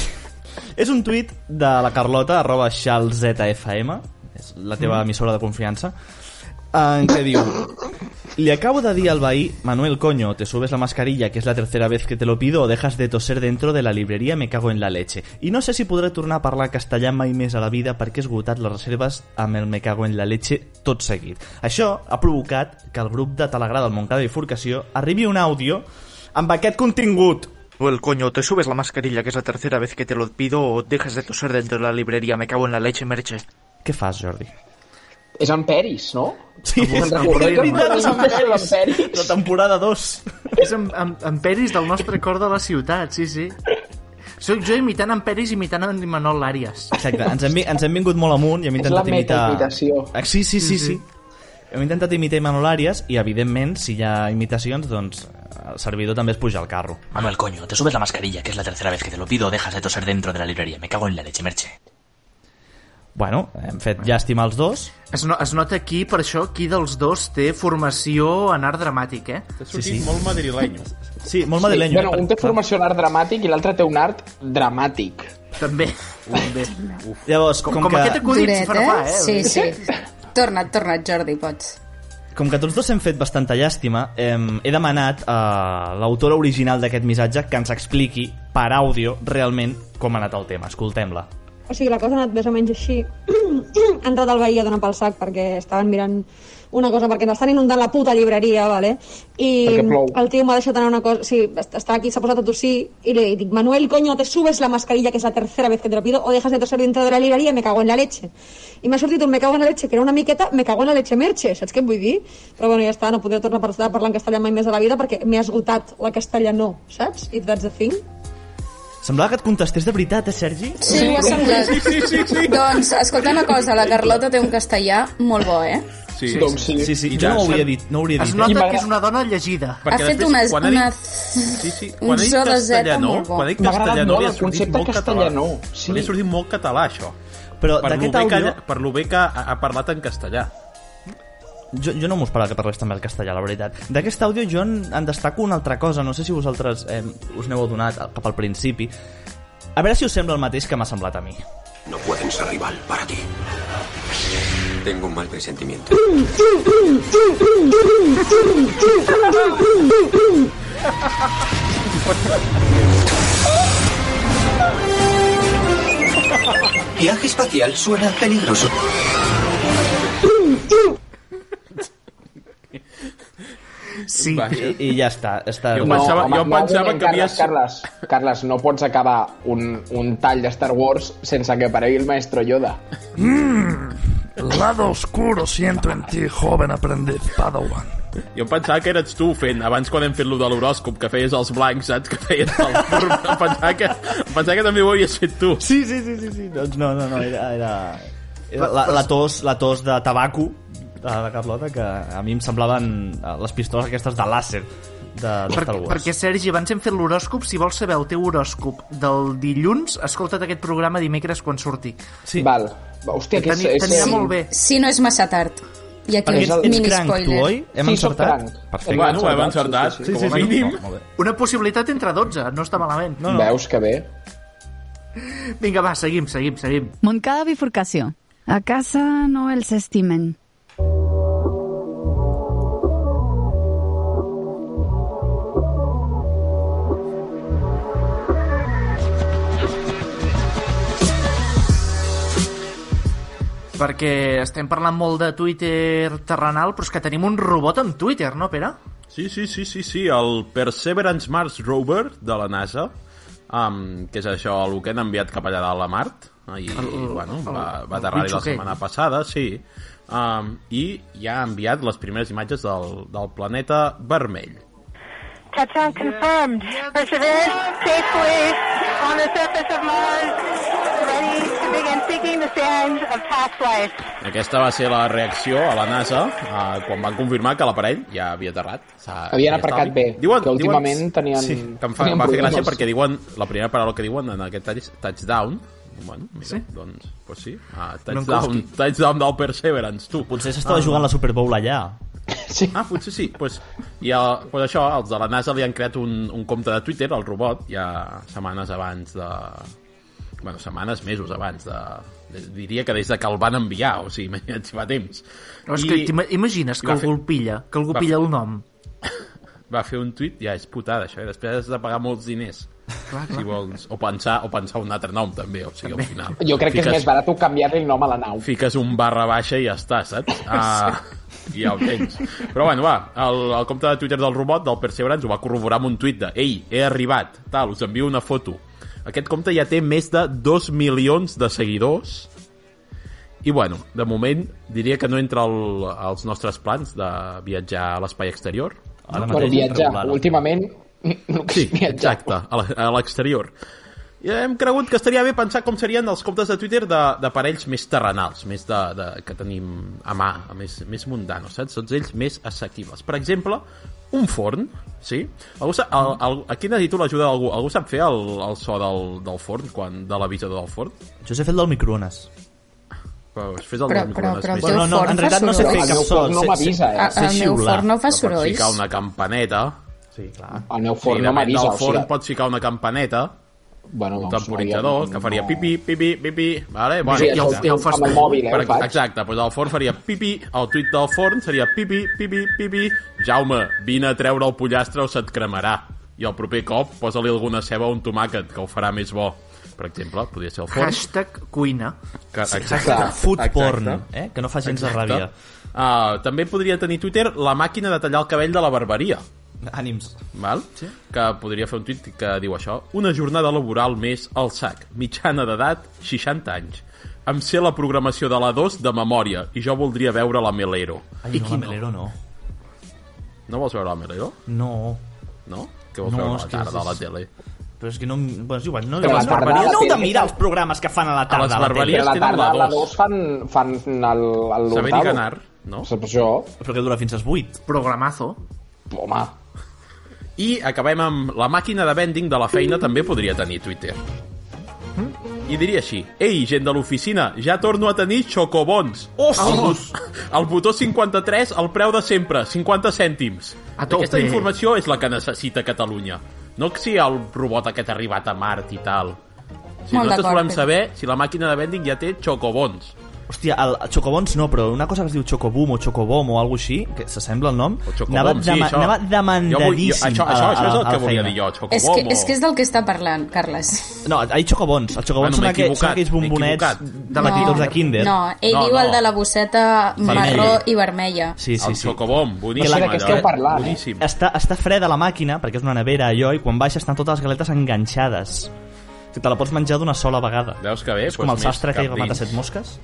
D: És un tuit de la Carlota, arroba xalzfm, és la teva emissora de confiança, en què diu... Le acabo de decir al bahí, Manuel, coño, te subes la mascarilla, que es la tercera vez que te lo pido, o dejas de toser dentro de la librería, me cago en la leche. I no sé si podré tornar a parlar castellà mai més a la vida perquè he esgotat les reserves amb el me cago en la leche tot seguit. Això ha provocat que el grup de Telegrà del Montcada i Forcació arribi un àudio amb aquest contingut.
K: El coño, te subes la mascarilla, que es la tercera vez que te lo pido, o dejas de toser dentro de la librería, me cago en la leche, merche.
D: Què fas, Jordi?
J: És en Peris, no?
D: Sí,
J: Em
D: és
J: recordo que
D: veritat, és en Peris. La temporada 2.
B: És en, en, en Peris del nostre cor de la ciutat, sí, sí. Soc jo imitant en Peris imitant en Manol Arias.
D: Exacte, ens hem, vi- ens hem vingut molt amunt i hem
B: És
D: intentat
B: la
D: imitar...
B: metaimitació.
D: Ah, Sí, sí, sí, sí. Hem intentat imitar Imanol Arias i, evidentment, si hi ha imitacions, doncs el servidor també es puja al carro.
L: Manuel, coño, te subes la mascarilla, que es la tercera vez que te lo pido, o dejas de toser dentro de la librería. Me cago en la leche, merche.
D: Bueno, hem fet llàstima als dos.
B: Es, no, es nota aquí, per això, qui dels dos té formació en art dramàtic, eh? T'ha
C: sortit Sí, sí. molt madrilenyo.
D: Sí, molt
J: Sí, bueno, un té formació en art dramàtic i l'altre té un art dramàtic.
B: També. També.
D: Llavors, com, que...
F: Duret, eh? Sí, sí. Torna't, torna't, Jordi, pots.
D: Com que tots dos hem fet bastanta llàstima, eh, he demanat a l'autora original d'aquest missatge que ens expliqui per àudio realment com ha anat el tema. Escoltem-la.
M: O sigui, la cosa ha anat més o menys així. ha entrat el veí a donar pel sac perquè estaven mirant una cosa, perquè ens estan inundant la puta llibreria, vale? I
N: Perquè plou.
M: el tio m'ha deixat anar una cosa... Sí, est- estava aquí, s'ha posat a tossir i li dic, Manuel, coño, te subes la mascarilla, que és la tercera vez que te lo pido, o dejas de toser dentro de la libreria, me cago en la leche. I m'ha sortit un me cago en la leche, que era una miqueta, me cago en la leche merche, saps què et vull dir? Però bueno, ja està, no podré tornar a parlar- a parlar en castellà mai més a la vida perquè m'he esgotat la castellanó, saps? If that's the thing.
D: Semblava que et contestés de veritat, eh, Sergi?
F: Sí, ho ha semblat.
M: Sí, sí, sí, sí.
F: Doncs, escolta una cosa, la Carlota té un castellà molt bo, eh?
C: Sí,
D: Doncs sí. Sí, sí, jo no ho hauria dit, no ho hauria
B: Es
D: dit,
B: nota
D: eh?
B: que és una dona llegida.
F: Ha fet una...
C: quan ha dit-
F: una...
C: Sí, sí.
F: Un
C: Quan ha dit
F: so de zeta
C: castellano,
F: molt bo.
C: quan ha dit
F: M'ha agradat
C: castellano,
F: molt
C: li ha
F: el
C: sortit
F: concepte
C: molt
F: castellano,
C: català.
F: sí.
C: Li ha sortit molt català, això.
D: Però
C: per lo
D: d'aquest
C: bé que
D: àudio-
C: ha- Per lo bé que ha, ha parlat en castellà.
D: Jo, jo no m'ho esperava que parlés també el castellà, la veritat. D'aquest àudio jo en, en destaco una altra cosa, no sé si vosaltres eh, us n'heu adonat eh, cap al principi. A veure si us sembla el mateix que m'ha semblat a mi.
O: No pueden ser rival para ti. Tengo un mal presentimiento. Viaje espacial suena peligroso.
B: Sí.
D: I, i ja està. està
J: No, home, no donem, Carles, Carles, Carles, no pots acabar un, un tall de Star Wars sense que aparegui el maestro Yoda.
P: El lado oscuro siento en ti, joven aprendiz Padawan.
C: Jo em pensava que eres tu fent, abans quan hem fet lo de l'horòscop, que feies els blancs, saps? Que feies el turno. Em pensava que, em pensava que també ho havies fet tu.
D: Sí, sí, sí, sí, sí. Doncs no, no, no, era... era... era la, la, tos, la tos de tabaco de la Carlota, que a mi em semblaven eh, les pistoles aquestes de làser de, de
B: Per,
D: Star Wars.
B: perquè, Sergi, abans hem fet l'horòscop. Si vols saber el teu horòscop del dilluns, escolta't aquest programa dimecres quan surti.
D: Sí.
J: Val. Hòstia, que és- és-
B: T'anirà
J: sí.
B: molt bé.
F: Si no és massa tard. I aquí
B: Perquè ets- ets
F: mini
B: cranc,
F: spoiler.
B: tu, oi? Hem Sí, soc encertat? cranc.
D: Perfecte.
B: Hem
C: Bueno, hem
B: encertat,
C: encertat,
B: sí, sí, sí,
C: sí, com a
B: sí.
C: mínim.
B: No, Una possibilitat entre 12, no està malament.
J: No, no. Veus que bé?
B: Vinga, va, seguim, seguim, seguim.
E: Montcada bifurcació. A casa no els estimen.
B: Perquè estem parlant molt de Twitter terrenal, però és que tenim un robot amb Twitter, no, Pere?
C: Sí, sí, sí, sí, sí, el Perseverance Mars Rover de la NASA, um, que és això, el que han enviat cap allà dalt a Mart, ah, i, bueno, va, va aterrar
Q: bitxo
C: la
Q: aquell.
C: setmana passada, sí, um, i ja ha enviat les primeres imatges del, del planeta vermell.
R: Touchdown confirmed. Perseverance safely on the surface of Mars, ready to begin seeking the sands of past life.
C: Aquesta va ser la reacció a la NASA eh, quan van confirmar que l'aparell ja havia aterrat. S'ha-
J: Havien
C: ja
J: aparcat
C: estava-
J: bé, que últimament tenien-
C: Sí, que em fa,
J: tenien
C: em va fer
J: problemes.
C: gràcia perquè diuen... La primera paraula que diuen en aquest tall és touchdown. Bueno, mira,
B: Sí?
C: sí? doncs, pues sí. Ah,
D: Gronkowski.
C: touchdown, touchdown del Perseverance, tu.
D: Potser s'estava jugant la Super Bowl allà.
J: Sí.
C: Ah, potser sí. Pues, i el, pues això, els de la NASA li han creat un, un compte de Twitter, el robot, ja setmanes abans de, bueno, setmanes, mesos abans de, de- diria que des de que el van enviar o sigui, imagina't si fa temps
B: No, és que t'ima- imagines
C: i
B: que
C: va
B: algú el pilla, que algú pilla el nom.
C: va fer un tuit, ja és putada això, eh? després has de pagar molts diners
B: Clar, clar.
C: si vols, o pensar, o pensar un altre nom també, o sigui, al final
J: Jo crec que és més barat canviar-li el nom a la nau.
C: fiques un barra baixa i ja està, saps? Ah, I ja ho tens. Però bueno, va, el, el compte de Twitter del robot, del Perseverance, ho va corroborar amb un tuit de «Ei, he arribat, tal, us envio una foto». Aquest compte ja té més de 2 milions de seguidors i bueno, de moment diria que no entra el, als nostres plans de viatjar a l'espai exterior.
J: Ara Bueno, mateix viatjar, regular, no? últimament...
C: Sí, exacte, a la- a l'exterior. I hem cregut que estaria bé pensar com serien els comptes de Twitter de- d'aparells més terrenals, més de, de, que tenim a mà, més, més mundanos, saps? Tots ells més assequibles. Per exemple, un forn, sí? Algú sa, el, el, aquí necessito l'ajuda d'algú. Algú sap fer el, el so del, del forn, quan, de l'avisador del forn?
D: Jo sé fer el del microones.
C: Però, fes el
F: Però-
C: del
F: però-
C: microones
F: però el
C: més.
F: teu Bueno, no, forn en fa realitat no sé fer sorolls. cap El meu forn so, no sé- m'avisa,
C: Ah.
F: eh? sé- sé El meu xiular. forn no fa
C: Però pots
F: sorolls.
C: Ficar una campaneta.
D: Sí, clar.
J: El meu forn
C: sí,
J: no
C: depèn
J: m'avisa,
C: del
J: o
C: forn
J: sigui-
C: pots ficar una campaneta,
J: bueno, doncs
C: un
J: no,
C: temporitzador,
J: sonaria-
C: que faria pipi, pipi, pipi, vale?
J: Sí, això ho- ja ho fas amb el tu. mòbil, eh,
C: Per-
J: ho faig.
C: Exacte, doncs el forn faria pipi, el tuit del forn seria pipi, pipi, pipi, Jaume, vine a treure el pollastre o se't cremarà. I el proper cop posa-li alguna ceba o un tomàquet, que ho farà més bo. Per exemple, podria ser el forn.
B: Hashtag cuina.
C: Que,
B: Sí,
D: exacte, food porn, eh? Que no fa gens de ràbia.
C: Uh, també podria tenir Twitter la màquina de tallar el cabell de la barberia.
D: Ànims.
C: Val? Sí. Que podria fer un tuit que diu això. Una jornada laboral més al sac. Mitjana d'edat, 60 anys. Em sé la programació de la 2 de memòria i jo voldria veure la Melero.
D: Ai, no, la Melero no.
C: No vols veure la Melero?
D: No.
C: No? Què vols veure a la tarda a la tele?
D: Però és que no... Bueno, és igual, no,
J: Però a la
D: les
J: tarda a la
D: barberies, no heu de
J: tele-
D: mirar els programes que fan a la tarda
C: les
D: a la tele.
J: Però a la tarda a la 2 fan, fan el,
D: Saber
J: el l'Hurtado.
D: i ganar,
C: no?
J: Per això...
D: Però que dura fins als 8.
B: Programazo.
J: Home.
C: I acabem amb la màquina de vending de la feina també podria tenir Twitter.
D: Hm?
C: I diria així, ei, gent de l'oficina, ja torno a tenir xocobons.
D: Ostres!
C: El botó 53, el preu de sempre, 50 cèntims.
B: A tope.
C: Aquesta informació és la que necessita Catalunya. No que si el robot aquest ha arribat a Mart i tal. Si
F: Molt
C: nosaltres
F: d'acord,
C: volem
F: Pep.
C: saber si la màquina de vending ja té xocobons.
D: Hòstia, el el Chocobons no, però una cosa que es diu Chocobum o Chocobom o alguna així, que s'assembla el nom, anava,
C: sí,
D: dema-
C: això.
D: anava
C: Jo vull- jo-
D: demandadíssim
C: això- això-
D: a-
C: això és el
D: a- a
C: que
D: la
C: volia
D: feina.
C: dir jo,
F: És que, és que és del que està parlant, Carles.
D: No, hi ha xocobons. Els
C: Bueno,
D: xocobons
C: m'he
D: són, aquells, són
C: equivocat,
D: aquells
C: m'he
D: bombonets
C: equivocat.
D: de la
F: no,
D: de Kinder.
F: No, ell
D: No,
F: diu
D: no.
F: el de la bosseta
D: Vermella.
F: marró i vermella.
D: Sí, sí,
C: el
D: sí.
C: xocobom, boníssim.
D: Que la-
C: allò, eh? Boníssim.
D: Està, està freda la màquina, perquè és una nevera allò, i quan baixa estan totes les galetes enganxades. O sigui, te la pots menjar d'una sola vegada.
C: Veus que bé?
D: és com
C: doncs
D: el
C: més
D: sastre que
C: cap
D: va matar
C: dins.
D: set mosques.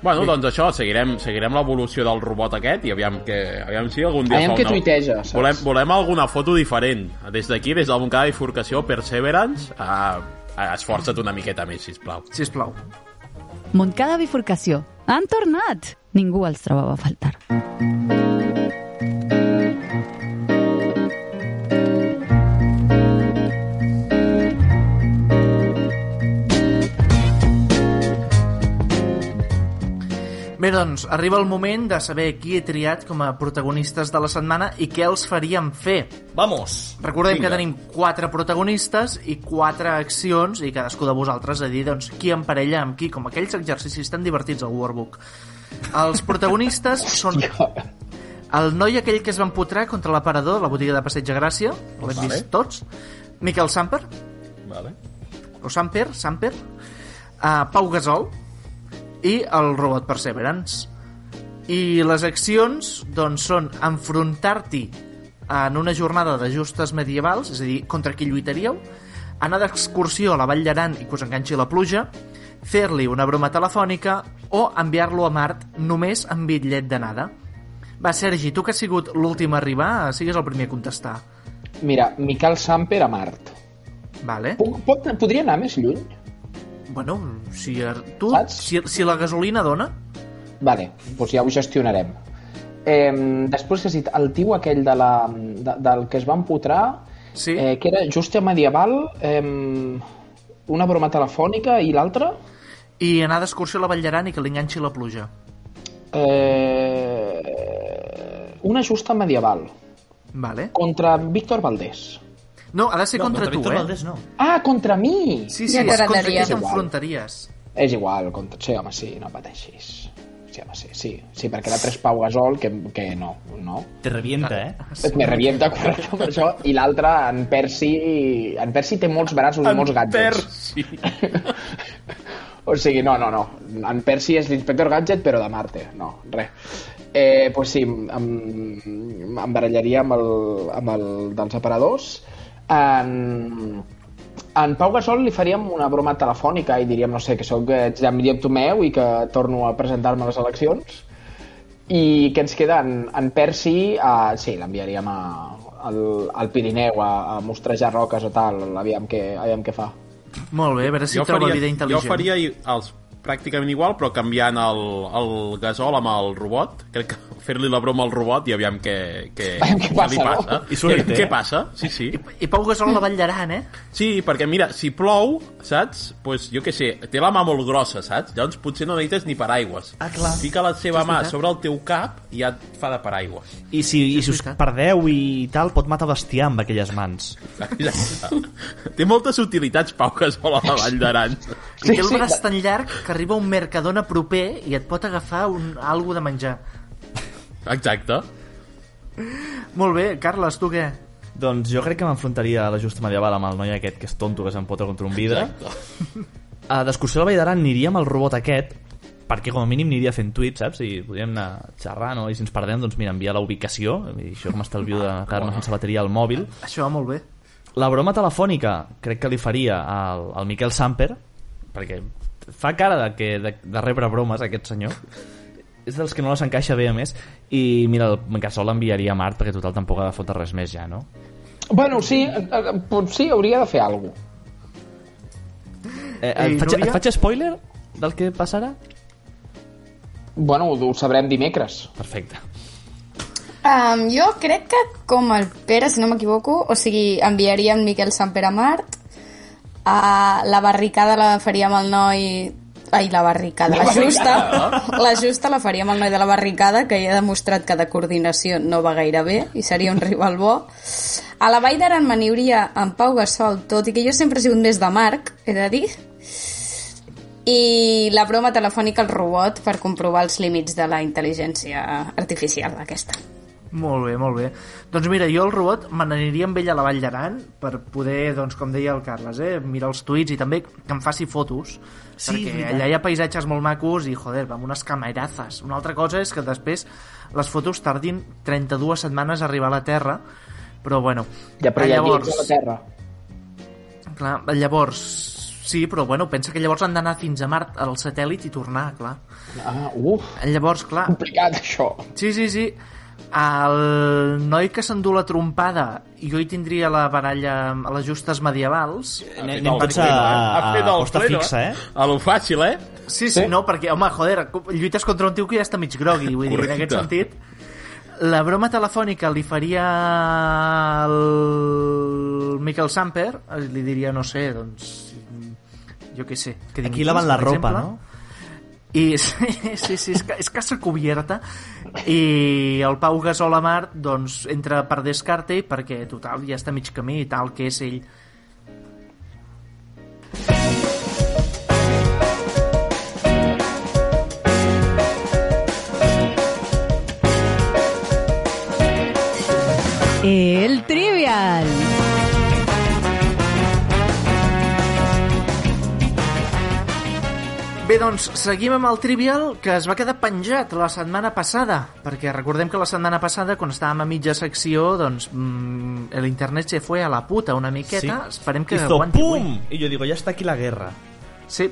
C: Bueno, doncs això, seguirem, seguirem l'evolució del robot aquest i aviam, que, aviam si algun dia...
J: Aviam
C: fa
J: què
C: una-
J: tuiteja, saps?
C: Volem, volem alguna foto diferent. Des d'aquí, des del Montcada Bifurcació, Perseverance, a, a, esforça't una miqueta més, sisplau.
B: Sisplau.
E: Montcada Bifurcació. Han tornat! Ningú els trobava a faltar.
B: Bé, doncs, arriba el moment de saber qui he triat com a protagonistes de la setmana i què els faríem fer.
D: Vamos!
B: Recordem
D: Vinga.
B: que tenim quatre protagonistes i quatre accions i cadascú de vosaltres ha de dir doncs, qui emparella amb qui, com aquells exercicis tan divertits al Warbook. Els protagonistes són el noi aquell que es va empotrar contra l'aparador de la botiga de Passeig de Gràcia, l'hem
C: Vale.
B: vist tots, Miquel Samper,
C: Vale.
B: o Samper, Samper, uh, Pau Gasol i el robot Perseverance. I les accions doncs, són enfrontar-t'hi en una jornada de justes medievals, és a dir, contra qui lluitaríeu, anar d'excursió a la Vall d'Aran i que us enganxi la pluja, fer-li una broma telefònica o enviar-lo a Mart només amb bitllet d'anada. Va, Sergi, tu que has sigut l'últim a arribar, sigues el primer a contestar.
J: Mira, Miquel Samper a Mart.
B: Vale.
J: Puc, pot, podria anar més lluny?
B: Bueno, si a- tu, si, si la gasolina dona...
J: Vale, doncs ja ho gestionarem. Eh, després que has dit el tio aquell de la, de, del que es va empotrar,
B: sí.
J: eh, que era justa medieval, eh, una broma telefònica i l'altra...
B: I anar d'excursió a la Vall d'Aran i que li enganxi la pluja.
J: Eh, una justa medieval
B: Vale.
J: contra Víctor Valdés.
B: No, ha de ser
J: No,
B: contra,
J: contra
B: tu,
J: Víctor
B: eh?
J: Valdés
D: no.
J: Ah, contra mi!
B: Sí, sí, és contra qui t'enfrontaries.
J: És igual, contra... sí, home, sí, no pateixis. Sí, home, sí, sí, sí perquè era tres Pau Gasol que, que no, no.
D: Te revienta, eh?
B: Ah,
J: Me revienta, correcte, per això. I l'altre, en Percy... En Percy té molts braços i molts gadgets. o sigui, no, no, no. En Percy és l'inspector Gadget, però de Marte. No, res. Eh, pues sí, em, em barallaria amb el, amb el dels aparadors. En, en Pau Gasol li faríem una broma telefònica i diríem, no sé, que sóc eh, Jean-Michel Tomeu i que torno a presentar-me a les eleccions. I què ens queda? En, en Percy, uh, sí, l'enviaríem a, al, al Pirineu a, a mostrejar roques o tal, aviam què, aviam què fa.
B: Molt bé, a veure si troba vida intel·ligent.
C: Jo faria i- els pràcticament igual, però canviant el, el gasol amb el robot. Crec que fer-li la broma al robot i aviam què, què, què
B: passa,
C: li passa.
B: no? I surt,
C: Què-
B: eh?
C: Què passa? Sí, sí.
B: I Pau Gasol la ballaran, eh?
C: Sí, perquè mira, si plou, saps? Pues, jo què sé, té la mà molt grossa, saps? Llavors potser no necessites ni paraigües. Ah, clar. Fica la seva
D: És
C: mà
D: veritat.
C: sobre el teu cap i ja et fa de paraigües.
D: I si, i si us perdeu i tal, pot matar bestiar amb aquelles mans.
C: Té moltes utilitats, Pau Gasol, a la Vall d'Aran.
B: Sí, té el braç tan llarg que arriba un mercadona proper i et pot agafar un, algo de menjar.
C: Exacte.
B: Molt bé, Carles, tu què?
D: Doncs jo crec que m'enfrontaria a la justa medieval amb el noi aquest que és tonto que s'empotra contra un vidre. A D'excursió a la Vall d'Aran aniríem al robot aquest perquè com a mínim aniria fent tuits, saps? I podríem anar xerrant, no? I si ens perdem, doncs mira, enviar la ubicació. I això com estalvio de quedar-me sense bateria al mòbil.
B: Això va molt bé.
D: La broma telefònica crec que li faria al, al Miquel Samper, perquè fa cara de, que, de, de rebre bromes aquest senyor. És dels que no les encaixa bé, a més. I mira, el Gasol l'enviaria a Mart, perquè total tampoc ha de fotre res més ja, no?
J: Bueno, sí, eh, eh, potser hauria de fer alguna cosa.
D: Eh, et, faig, et faig spoiler del que passarà?
J: Bueno, ho, ho sabrem dimecres.
D: Perfecte.
F: Um, jo crec que com el Pere, si no m'equivoco, o sigui, enviaria en Miquel Samper a Mart, a la barricada la faria amb el noi... Ai, la barricada, la,
N: La barricada,
F: justa. La justa la faria amb el noi de la barricada, que ja ha demostrat que de coordinació no va gaire bé i seria un rival bo. A la Vall d'Aran m'aniuria amb Pau Gasol, tot i que jo sempre he sigut més de Marc, he de dir. I la broma telefònica al robot per comprovar els límits de la intel·ligència artificial aquesta.
B: Molt bé, molt bé. Doncs mira, jo el robot me n'aniria amb ell a la Vall d'Aran per poder, doncs, com deia el Carles, eh, mirar els tuits i també que em faci fotos.
D: Sí,
B: perquè
D: veritat.
B: allà hi ha paisatges molt macos i, joder, amb unes camerazas. Una altra cosa és que després les fotos tardin 32 setmanes a arribar a la Terra, però bueno.
J: Ja, però ja llavors... a la Terra.
B: Clar, llavors... Sí, però bueno, pensa que llavors han d'anar fins a Mart al satèl·lit i tornar, clar.
J: Ah, uf.
B: Llavors, clar...
J: Complicat, això.
B: Sí, sí, sí. El noi que s'endú la trompada, jo hi tindria la baralla a les justes medievals.
D: anem tots a-
C: eh?
D: Ha fet el a costa pleno, fixa, eh?
C: A lo fàcil, eh?
B: Sí, sí, no, perquè, home, joder, lluites contra un tio que ja està mig grogui, vull dir, en
C: Correcte.
B: aquest sentit. La broma telefònica li faria el Miquel Samper, eh, li diria, no sé, doncs, jo què sé. Que
D: Aquí laven la ropa, no?
B: I sí, sí, sí és, ca, és casa cobierta i el Pau Gasol a Mart doncs entra per descarte perquè total ja està a mig camí i tal que és ell
E: El Trivial.
B: Bé, doncs, seguim amb el Trivial, que es va quedar penjat la setmana passada, perquè recordem que la setmana passada, quan estàvem a mitja secció, doncs, mm, l'internet se fue a la puta una miqueta. Esperem que
D: Hizo
B: aguanti avui.
D: pum! I jo digo, ja està aquí la guerra.
B: Sí.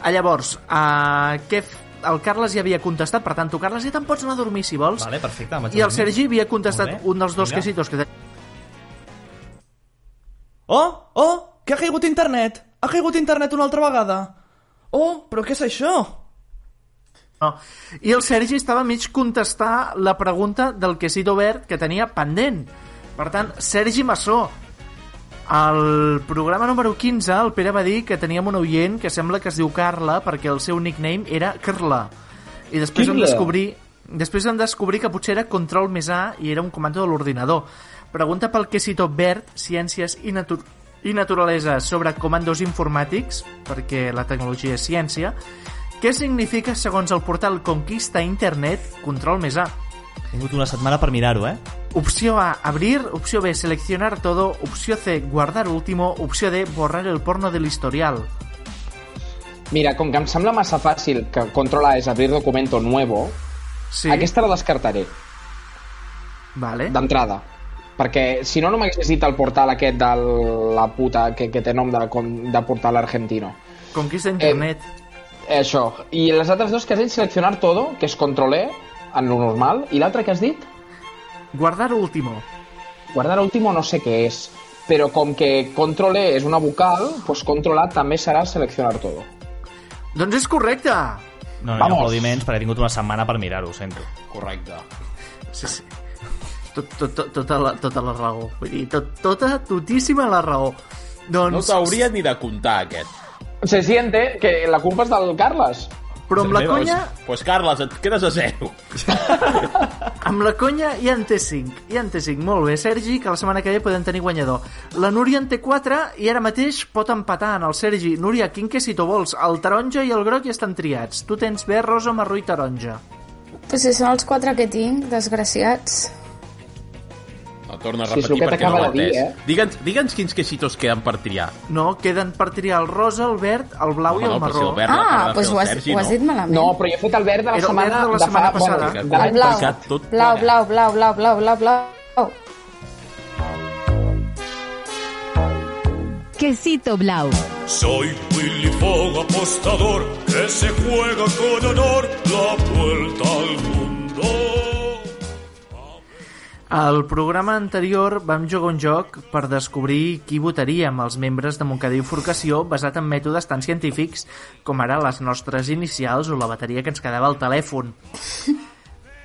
B: Ah, Llavors, uh, què f- el Carles ja havia contestat, per tant, tu, Carles, ja te'n pots anar a dormir, si vols.
D: Vale, perfecte. em vaig
B: I
D: a
B: el
D: dormir.
B: Sergi havia contestat
D: Molt bé.
B: un dels dos
D: Vinga.
B: quesitos que... te-
Q: Oh, oh, que ha caigut internet! Ha caigut internet una altra vegada! Oh, però què és això?
B: No. I el Sergi estava a mig contestar la pregunta del quesito verd que tenia pendent. Per tant, Sergi Massó, al programa número 15 el Pere va dir que teníem un oient que sembla que es diu Carla perquè el seu nickname era Carla. I després vam
J: Carla.
B: descobrir després vam descobrir que potser era Control més A i era un comando de l'ordinador. pregunta pel Quesito Verd, Ciències i, Natur i Naturalesa sobre comandos informàtics, perquè la tecnologia és ciència, què significa, segons el portal Conquista Internet, control més A?
D: He tingut una setmana per mirar-ho, eh?
B: Opció A, abrir. Opció B, seleccionar todo. Opció C, guardar último. Opció D, borrar el porno del historial.
J: Mira, com que em sembla massa fàcil que controla és abrir documento nuevo, sí. aquesta la descartaré.
B: Vale.
J: D'entrada. Perquè si no, no m'hagués dit el portal aquest de la puta que, que té nom de, com- de portal argentino.
B: Conquista Internet.
J: Eh, això. I les altres dues que has dit, seleccionar todo, que és controlé, en lo normal, i l'altra que has dit?
B: Guardar último.
J: Guardar último no sé què és, però com que controlé és una vocal, pues controlar també serà seleccionar todo.
B: Doncs és correcte!
D: No, no, hi ha
J: Vamos.
D: aplaudiments perquè he tingut una setmana per mirar-ho, ho sento.
C: Correcte.
B: Sí, sí. Tot, tot, tot, tota, la, tota la raó. Vull dir, tot, tota, totíssima la raó. Doncs...
C: No t'hauria ni de comptar, aquest.
J: Se siente que la culpa és del Carles.
B: Però amb la
C: Doncs,
B: conya,
C: Doncs, pues, Carles, et quedes a zero.
B: amb la conya ja en té 5. Ja en té 5. Molt bé, Sergi, que la setmana que ve podem tenir guanyador. La Núria en té 4 i ara mateix pot empatar en el Sergi. Núria, quin que si tu vols? El taronja i el groc ja estan triats. Tu tens bé rosa, marró i taronja.
F: Pues si són els quatre que tinc, desgraciats.
C: No torna a
B: Sí, és
C: repetir
B: el que
C: perquè no
B: t'acaba
C: ho
B: de dir,
C: entès.
B: eh?
C: Digue'ns digue'ns quins quesitos queden per triar.
B: No, queden per triar el rosa, el verd, el blau
C: Home,
B: i el
C: no, però
B: marró.
C: si el verd l'ha Ah, acabat de doncs fer el ho has- Sergi, ho has no? dit
F: malament.
J: No, però jo he fet el verd de la
B: Era el
J: setmana...
B: verd de la setmana passada.
J: Bueno, de
F: El
J: l'any
F: blau,
J: passat.
F: blau, blau, blau, blau, blau, blau, blau.
E: Quesito Blau.
N: Soy Willy Fogg, apostador, que se juega con honor la vuelta al mundo.
B: Al programa anterior vam jugar un joc per descobrir qui votaríem els membres de Montcada i Forcació basat en mètodes tan científics com ara les nostres inicials o la bateria que ens quedava al telèfon.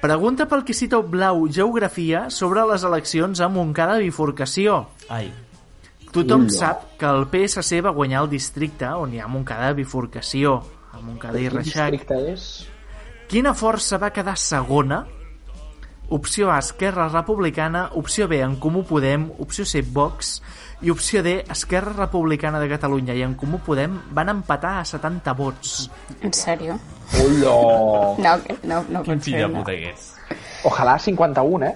B: Pregunta pel Quisito Blau Geografia sobre les eleccions a Montcada i Forcació.
D: Ai.
B: Tothom
D: Ulla.
B: sap que el PSC va guanyar el districte on hi ha Montcada i Bifurcació, a Montcada i
J: Quin
B: Reixac.
J: És...
B: Quina força va quedar segona? Opció A, Esquerra Republicana, opció B, En Comú Podem, opció C, Vox, i opció D, Esquerra Republicana de Catalunya i En Comú Podem van empatar a 70 vots.
F: En sèrio?
J: Hola!
F: No, que- no, no pot ser, no.
C: que és.
J: Ojalà 51, eh?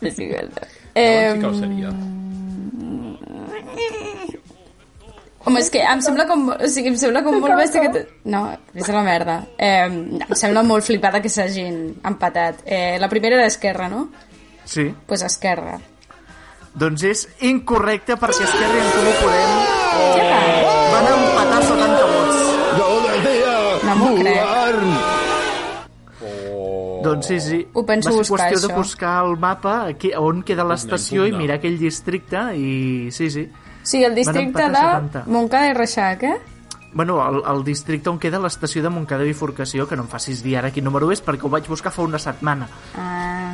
F: Sí,
C: sí que ho seria.
F: Home, és que em sembla com, o sigui, em sembla com molt bèstia que... t- No, és la merda. Eh, no, em sembla molt flipada que s'hagin empatat. Eh, la primera era Esquerra, no?
B: Sí.
F: Doncs pues Esquerra.
B: Doncs és incorrecte perquè Esquerra i en Comú Podem van empatar 70 vots. Jo devia
F: No m'ho crec.
B: Doncs sí, sí.
F: Ho penso
B: Va ser
F: buscar,
B: qüestió de
F: això.
B: buscar el mapa aquí, on queda l'estació i
F: impugna.
B: mirar aquell districte i sí, sí.
F: Sí, el districte
B: Van
F: de
B: empatar 70.
F: Montcada i Reixac, eh?
B: Bueno, el, el districte on queda l'estació de Montcada i Bifurcació, que no em facis dir ara quin número és perquè ho vaig buscar fa una setmana.
F: Ah,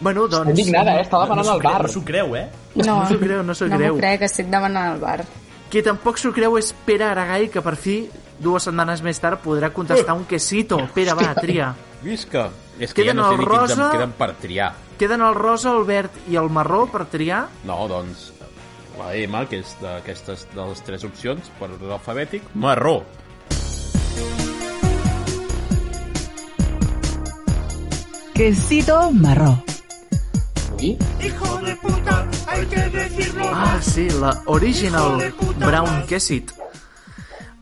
B: Bueno, doncs...
F: indignada, eh? Està
B: no-
F: demanant
B: no s'ho
F: al bar.
B: creu- No s'ho creu, eh?
F: no,
B: no s'ho creu, no s'ho
F: no
B: creu.
F: m'ho crec, estic demanant al bar.
B: Qui tampoc s'ho creu és Pere Aragai, que per fi, dues setmanes més tard, podrà contestar un quesito. Pere, va, tria.
C: Visca. És que
B: Queden
C: ja no sé
B: el
C: ni quins
B: rosa-
C: em queden per triar.
B: Queden el rosa, el verd i el marró per triar.
C: No, doncs, la M, que és d'aquestes de les tres opcions, per ordre alfabètic, marró.
E: Quesito Marró.
N: Hijo de puta, hay que decirlo.
B: Ah, sí, la Original Brown Quesit.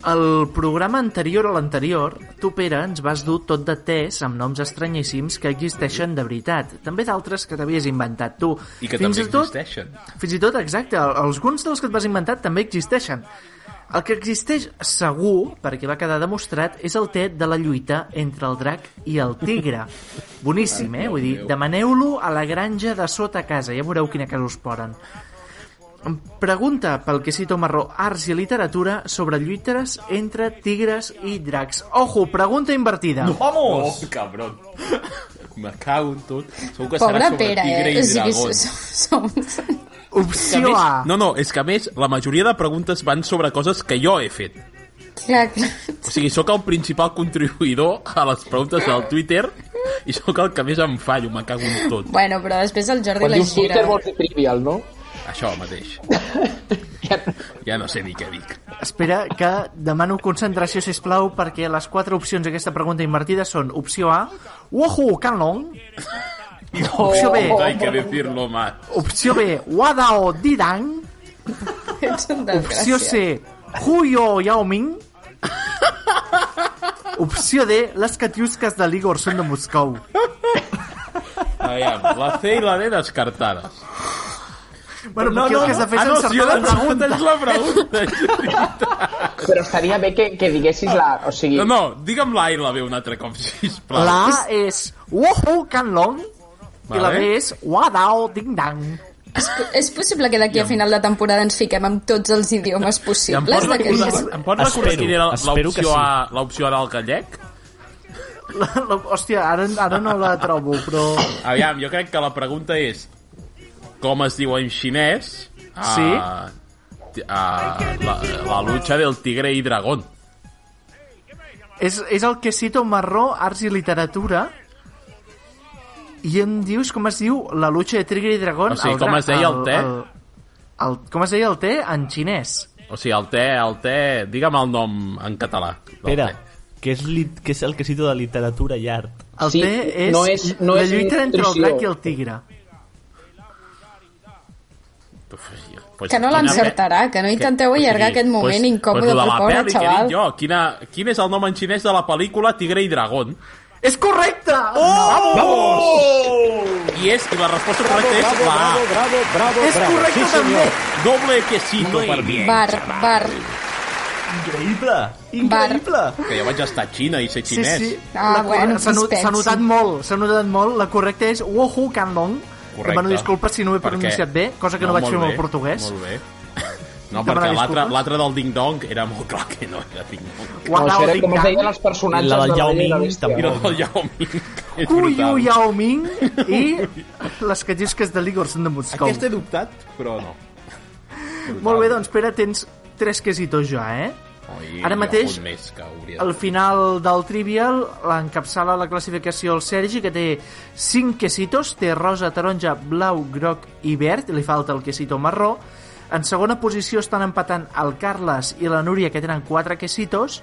B: El programa anterior a l'anterior, tu, Pere, ens vas dur tot de tes amb noms estranyíssims que existeixen de veritat. També d'altres que t'havies inventat tu.
C: I que
B: Fins
C: també
B: i tot,
C: existeixen.
B: Fins i tot, exacte, alguns dels que et vas inventar també existeixen. El que existeix segur, perquè va quedar demostrat, és el té de la lluita entre el drac i el tigre. Boníssim, eh? Vull dir, demaneu-lo a la granja de sota casa, ja veureu quina casa us poren. Pregunta pel que cito marró Arts i Literatura sobre lluites entre tigres i dracs. Ojo, pregunta invertida.
C: No, Oh, cabron. Me cago en tot. Segur que
F: Pobre
C: serà sobre
F: Pere,
C: tigre
F: eh?
C: i
F: O sigui,
C: dragons.
F: som... som...
C: Que a
B: Opció
C: més-
B: A.
C: No, no, és que a més, la majoria de preguntes van sobre coses que jo he fet.
F: Clar, clar.
C: O sigui, sóc el principal contribuïdor a les preguntes del Twitter i sóc el que més em fallo, me cago en tot.
F: Bueno, però després el Jordi
C: Quan
F: la
C: dius
F: gira.
C: Twitter vols
J: dir Trivial, no?
C: Això mateix. ja no sé ni què dic.
B: Espera, que demano concentració, si plau, perquè les quatre opcions d'aquesta pregunta invertida són opció A, Wohu Kanlong, opció B,
C: No hay que decirlo más.
B: opció B, Wadao Didang,
F: Ets un
B: opció C, Huyo Yaoming, opció D, les catiusques de l'Igor són de Moscou.
C: Aviam, la C i la D descartades.
B: Bueno, no, no, el que has de fer
C: ah,
B: és
C: no, si jo
B: encertar la pregunta.
C: és la pregunta.
J: Però estaria bé que, que diguessis la... O sigui...
C: No, no, digue'm la A i la B un altre cop, sisplau.
B: La A és Wohu Kanlong i la
C: Vale.
B: B és Wadao Ding Dang.
F: És, po- és possible que d'aquí a final de temporada ens fiquem amb tots els
C: I
F: idiomes
C: em pots
F: possibles
C: recordar,
F: d'aquest...
C: em pots recordar
B: Espero,
C: quina era
B: espero que
C: l'opció
B: sí.
C: A, l'opció A del gallec?
B: La, la, hòstia, ara, ara no la trobo, però...
C: Aviam, jo crec que la pregunta és com es diu en xinès
B: Sí.
C: a, a, la, la lucha del tigre i dragón.
B: És, és el quesito marró, arts i literatura. I em dius com es diu la lucha de Trigger i Dragon?
C: O sigui,
B: dra-
C: com es deia el té?
B: El, el, com es deia el té en xinès?
C: O sigui, el té, el té... Digue'm el nom en català.
D: Espera, que és, lit, que és el que cito de literatura i art.
B: El sí, té és,
D: no és- no
B: la
D: és
B: lluita entre el
D: nutrició.
B: drac i el tigre.
C: Pues,
F: Que no
C: quina
F: l'encertarà, que no intenteu allargar aquest moment
C: lo
F: incòmode
C: de
F: pel
C: la
F: pobre
C: pel·li que he dit
F: xaval.
C: Jo, quina, quin és el nom en xinès de la pel·lícula Tigre i Dragón?
B: És correcte! Oh!
C: I és, i la resposta correcta és la A.
S: bravo, bravo, bravo,
C: És
S: bravo.
C: correcte
S: Sí, senyor.
C: Doble quesito
S: Muy
C: per mi.
S: bien,
F: Bar, bar,
D: Increïble!
F: bar.
C: Que jo vaig estar a Xina i sé
B: Sí,
C: xinès.
B: sí.
F: Ah,
B: La
F: bueno,
B: correcta- s'ha not-
F: respect,
B: S'ha notat
F: sí.
B: molt, s'ha notat molt. La correcta és Wohu Kanlong.
C: Correcte.
B: Demano disculpes si no ho he
C: Perquè-
B: pronunciat bé, cosa que no, vaig
C: molt
B: fer amb
C: bé,
B: el portuguès.
C: Molt bé. No,
B: Demanar
C: perquè l'altre
B: disculpes.
C: l'altre del Ding Dong era molt clar que no era Ding Dong.
J: No, això era com es deien els personatges
D: La del
J: de la
D: Yao
J: Bella i la
D: Ming,
J: Bèstia.
D: tampoc.
C: I la del Yao Ming. És
B: Cuyu
C: brutal.
B: Yao Ming i les catisques de l'Igor són de Moscou.
C: Aquesta he dubtat, però no.
B: Molt bé, doncs, Pere, tens tres quesitos ja, eh?
C: Oi,
B: Ara
C: hi ha
B: mateix,
C: un Més que hauria de-
B: Al final del Trivial l'encapçala la classificació el Sergi, que té 5 quesitos, té rosa, taronja, blau, groc i verd, li falta el quesito marró. En segona posició estan empatant el Carles i la Núria, que tenen 4 quesitos,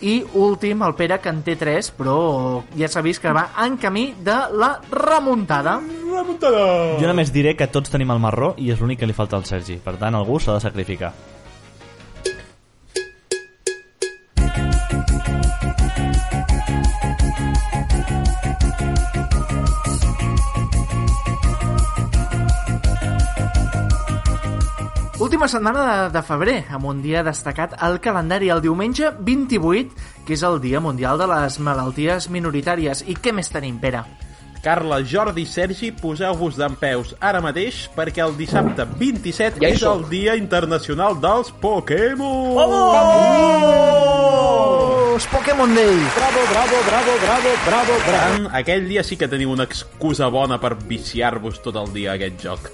B: i últim, el Pere, que en té 3, però ja s'ha vist que va en camí de la remuntada.
C: Remuntada!
D: Jo només diré que tots tenim el marró i és l'únic que li falta al Sergi. Per tant, algú s'ha de sacrificar.
B: Última setmana de, de febrer, amb un dia destacat al calendari, el diumenge 28, que és el Dia Mundial de les Malalties Minoritàries. I què més tenim, Pere?
C: Carla, Jordi i Sergi, poseu-vos d'en peus ara mateix perquè el dissabte 27
B: Ja hi
C: és
B: som.
C: el Dia Internacional dels Pokémon!
B: Vamos! Pokémon Day!
S: Bravo, bravo, bravo, bravo, bravo,
C: Per tant, aquell dia sí que teniu una excusa bona per viciar-vos tot el dia a aquest joc.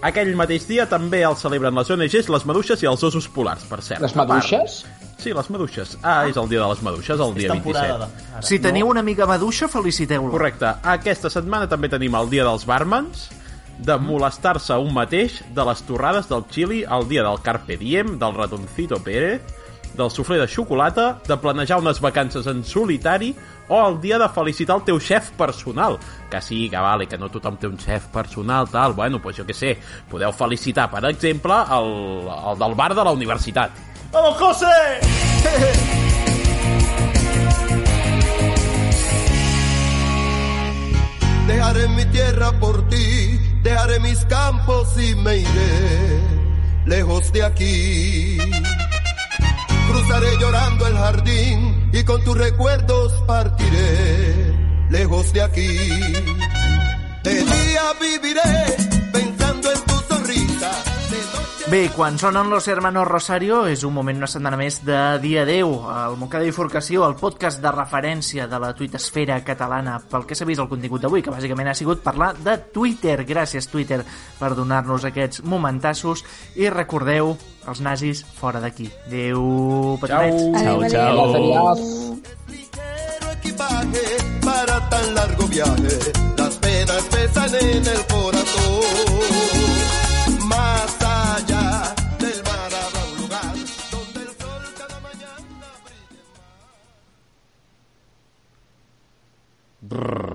C: Aquell mateix dia també el celebren les ONGs, les maduixes i els ossos polars, per cert.
J: Les maduixes?
C: Sí, les maduixes. Ah, és el dia de les maduixes, el dia 27.
D: doncs.
B: Si teniu una amiga maduixa, feliciteu-la.
C: Correcte. Aquesta setmana també tenim el dia dels barmans, de molestar-se un mateix, de les torrades del xili, el dia del carpe diem, del ratoncito Pérez, del suflé de xocolata, de planejar unes vacances en solitari o el dia de felicitar el teu xef personal. Que sí, que vale, que no tothom té un xef personal, tal, bueno, pues jo què sé. Podeu felicitar, per exemple, el, el del bar de la universitat.
D: ¡Vamos, José!
T: Dejaré mi tierra por ti, dejaré mis campos y me iré lejos de aquí. Cruzaré llorando el jardín y con tus recuerdos partiré lejos de aquí. De día viviré pensando en tu sonrisa.
B: Bé, quan sonen Los Hermanos Rosario és un moment una setmana més de dia 10 al Montcada Bifurcació, el podcast de referència de la tuitesfera catalana pel que s'ha vist el contingut d'avui, que bàsicament ha sigut parlar de Twitter. Gràcies Twitter per donar-nos aquests momentassos i recordeu, els nazis fora d'aquí. Adéu, petonets.
T: Adeu, adeu.
B: Adéu.
T: equipaje para tan largo viaje, las penas pesan en el corazón. Más allá del mar habrá un lugar donde el sol cada mañana brille más.
C: Brrr.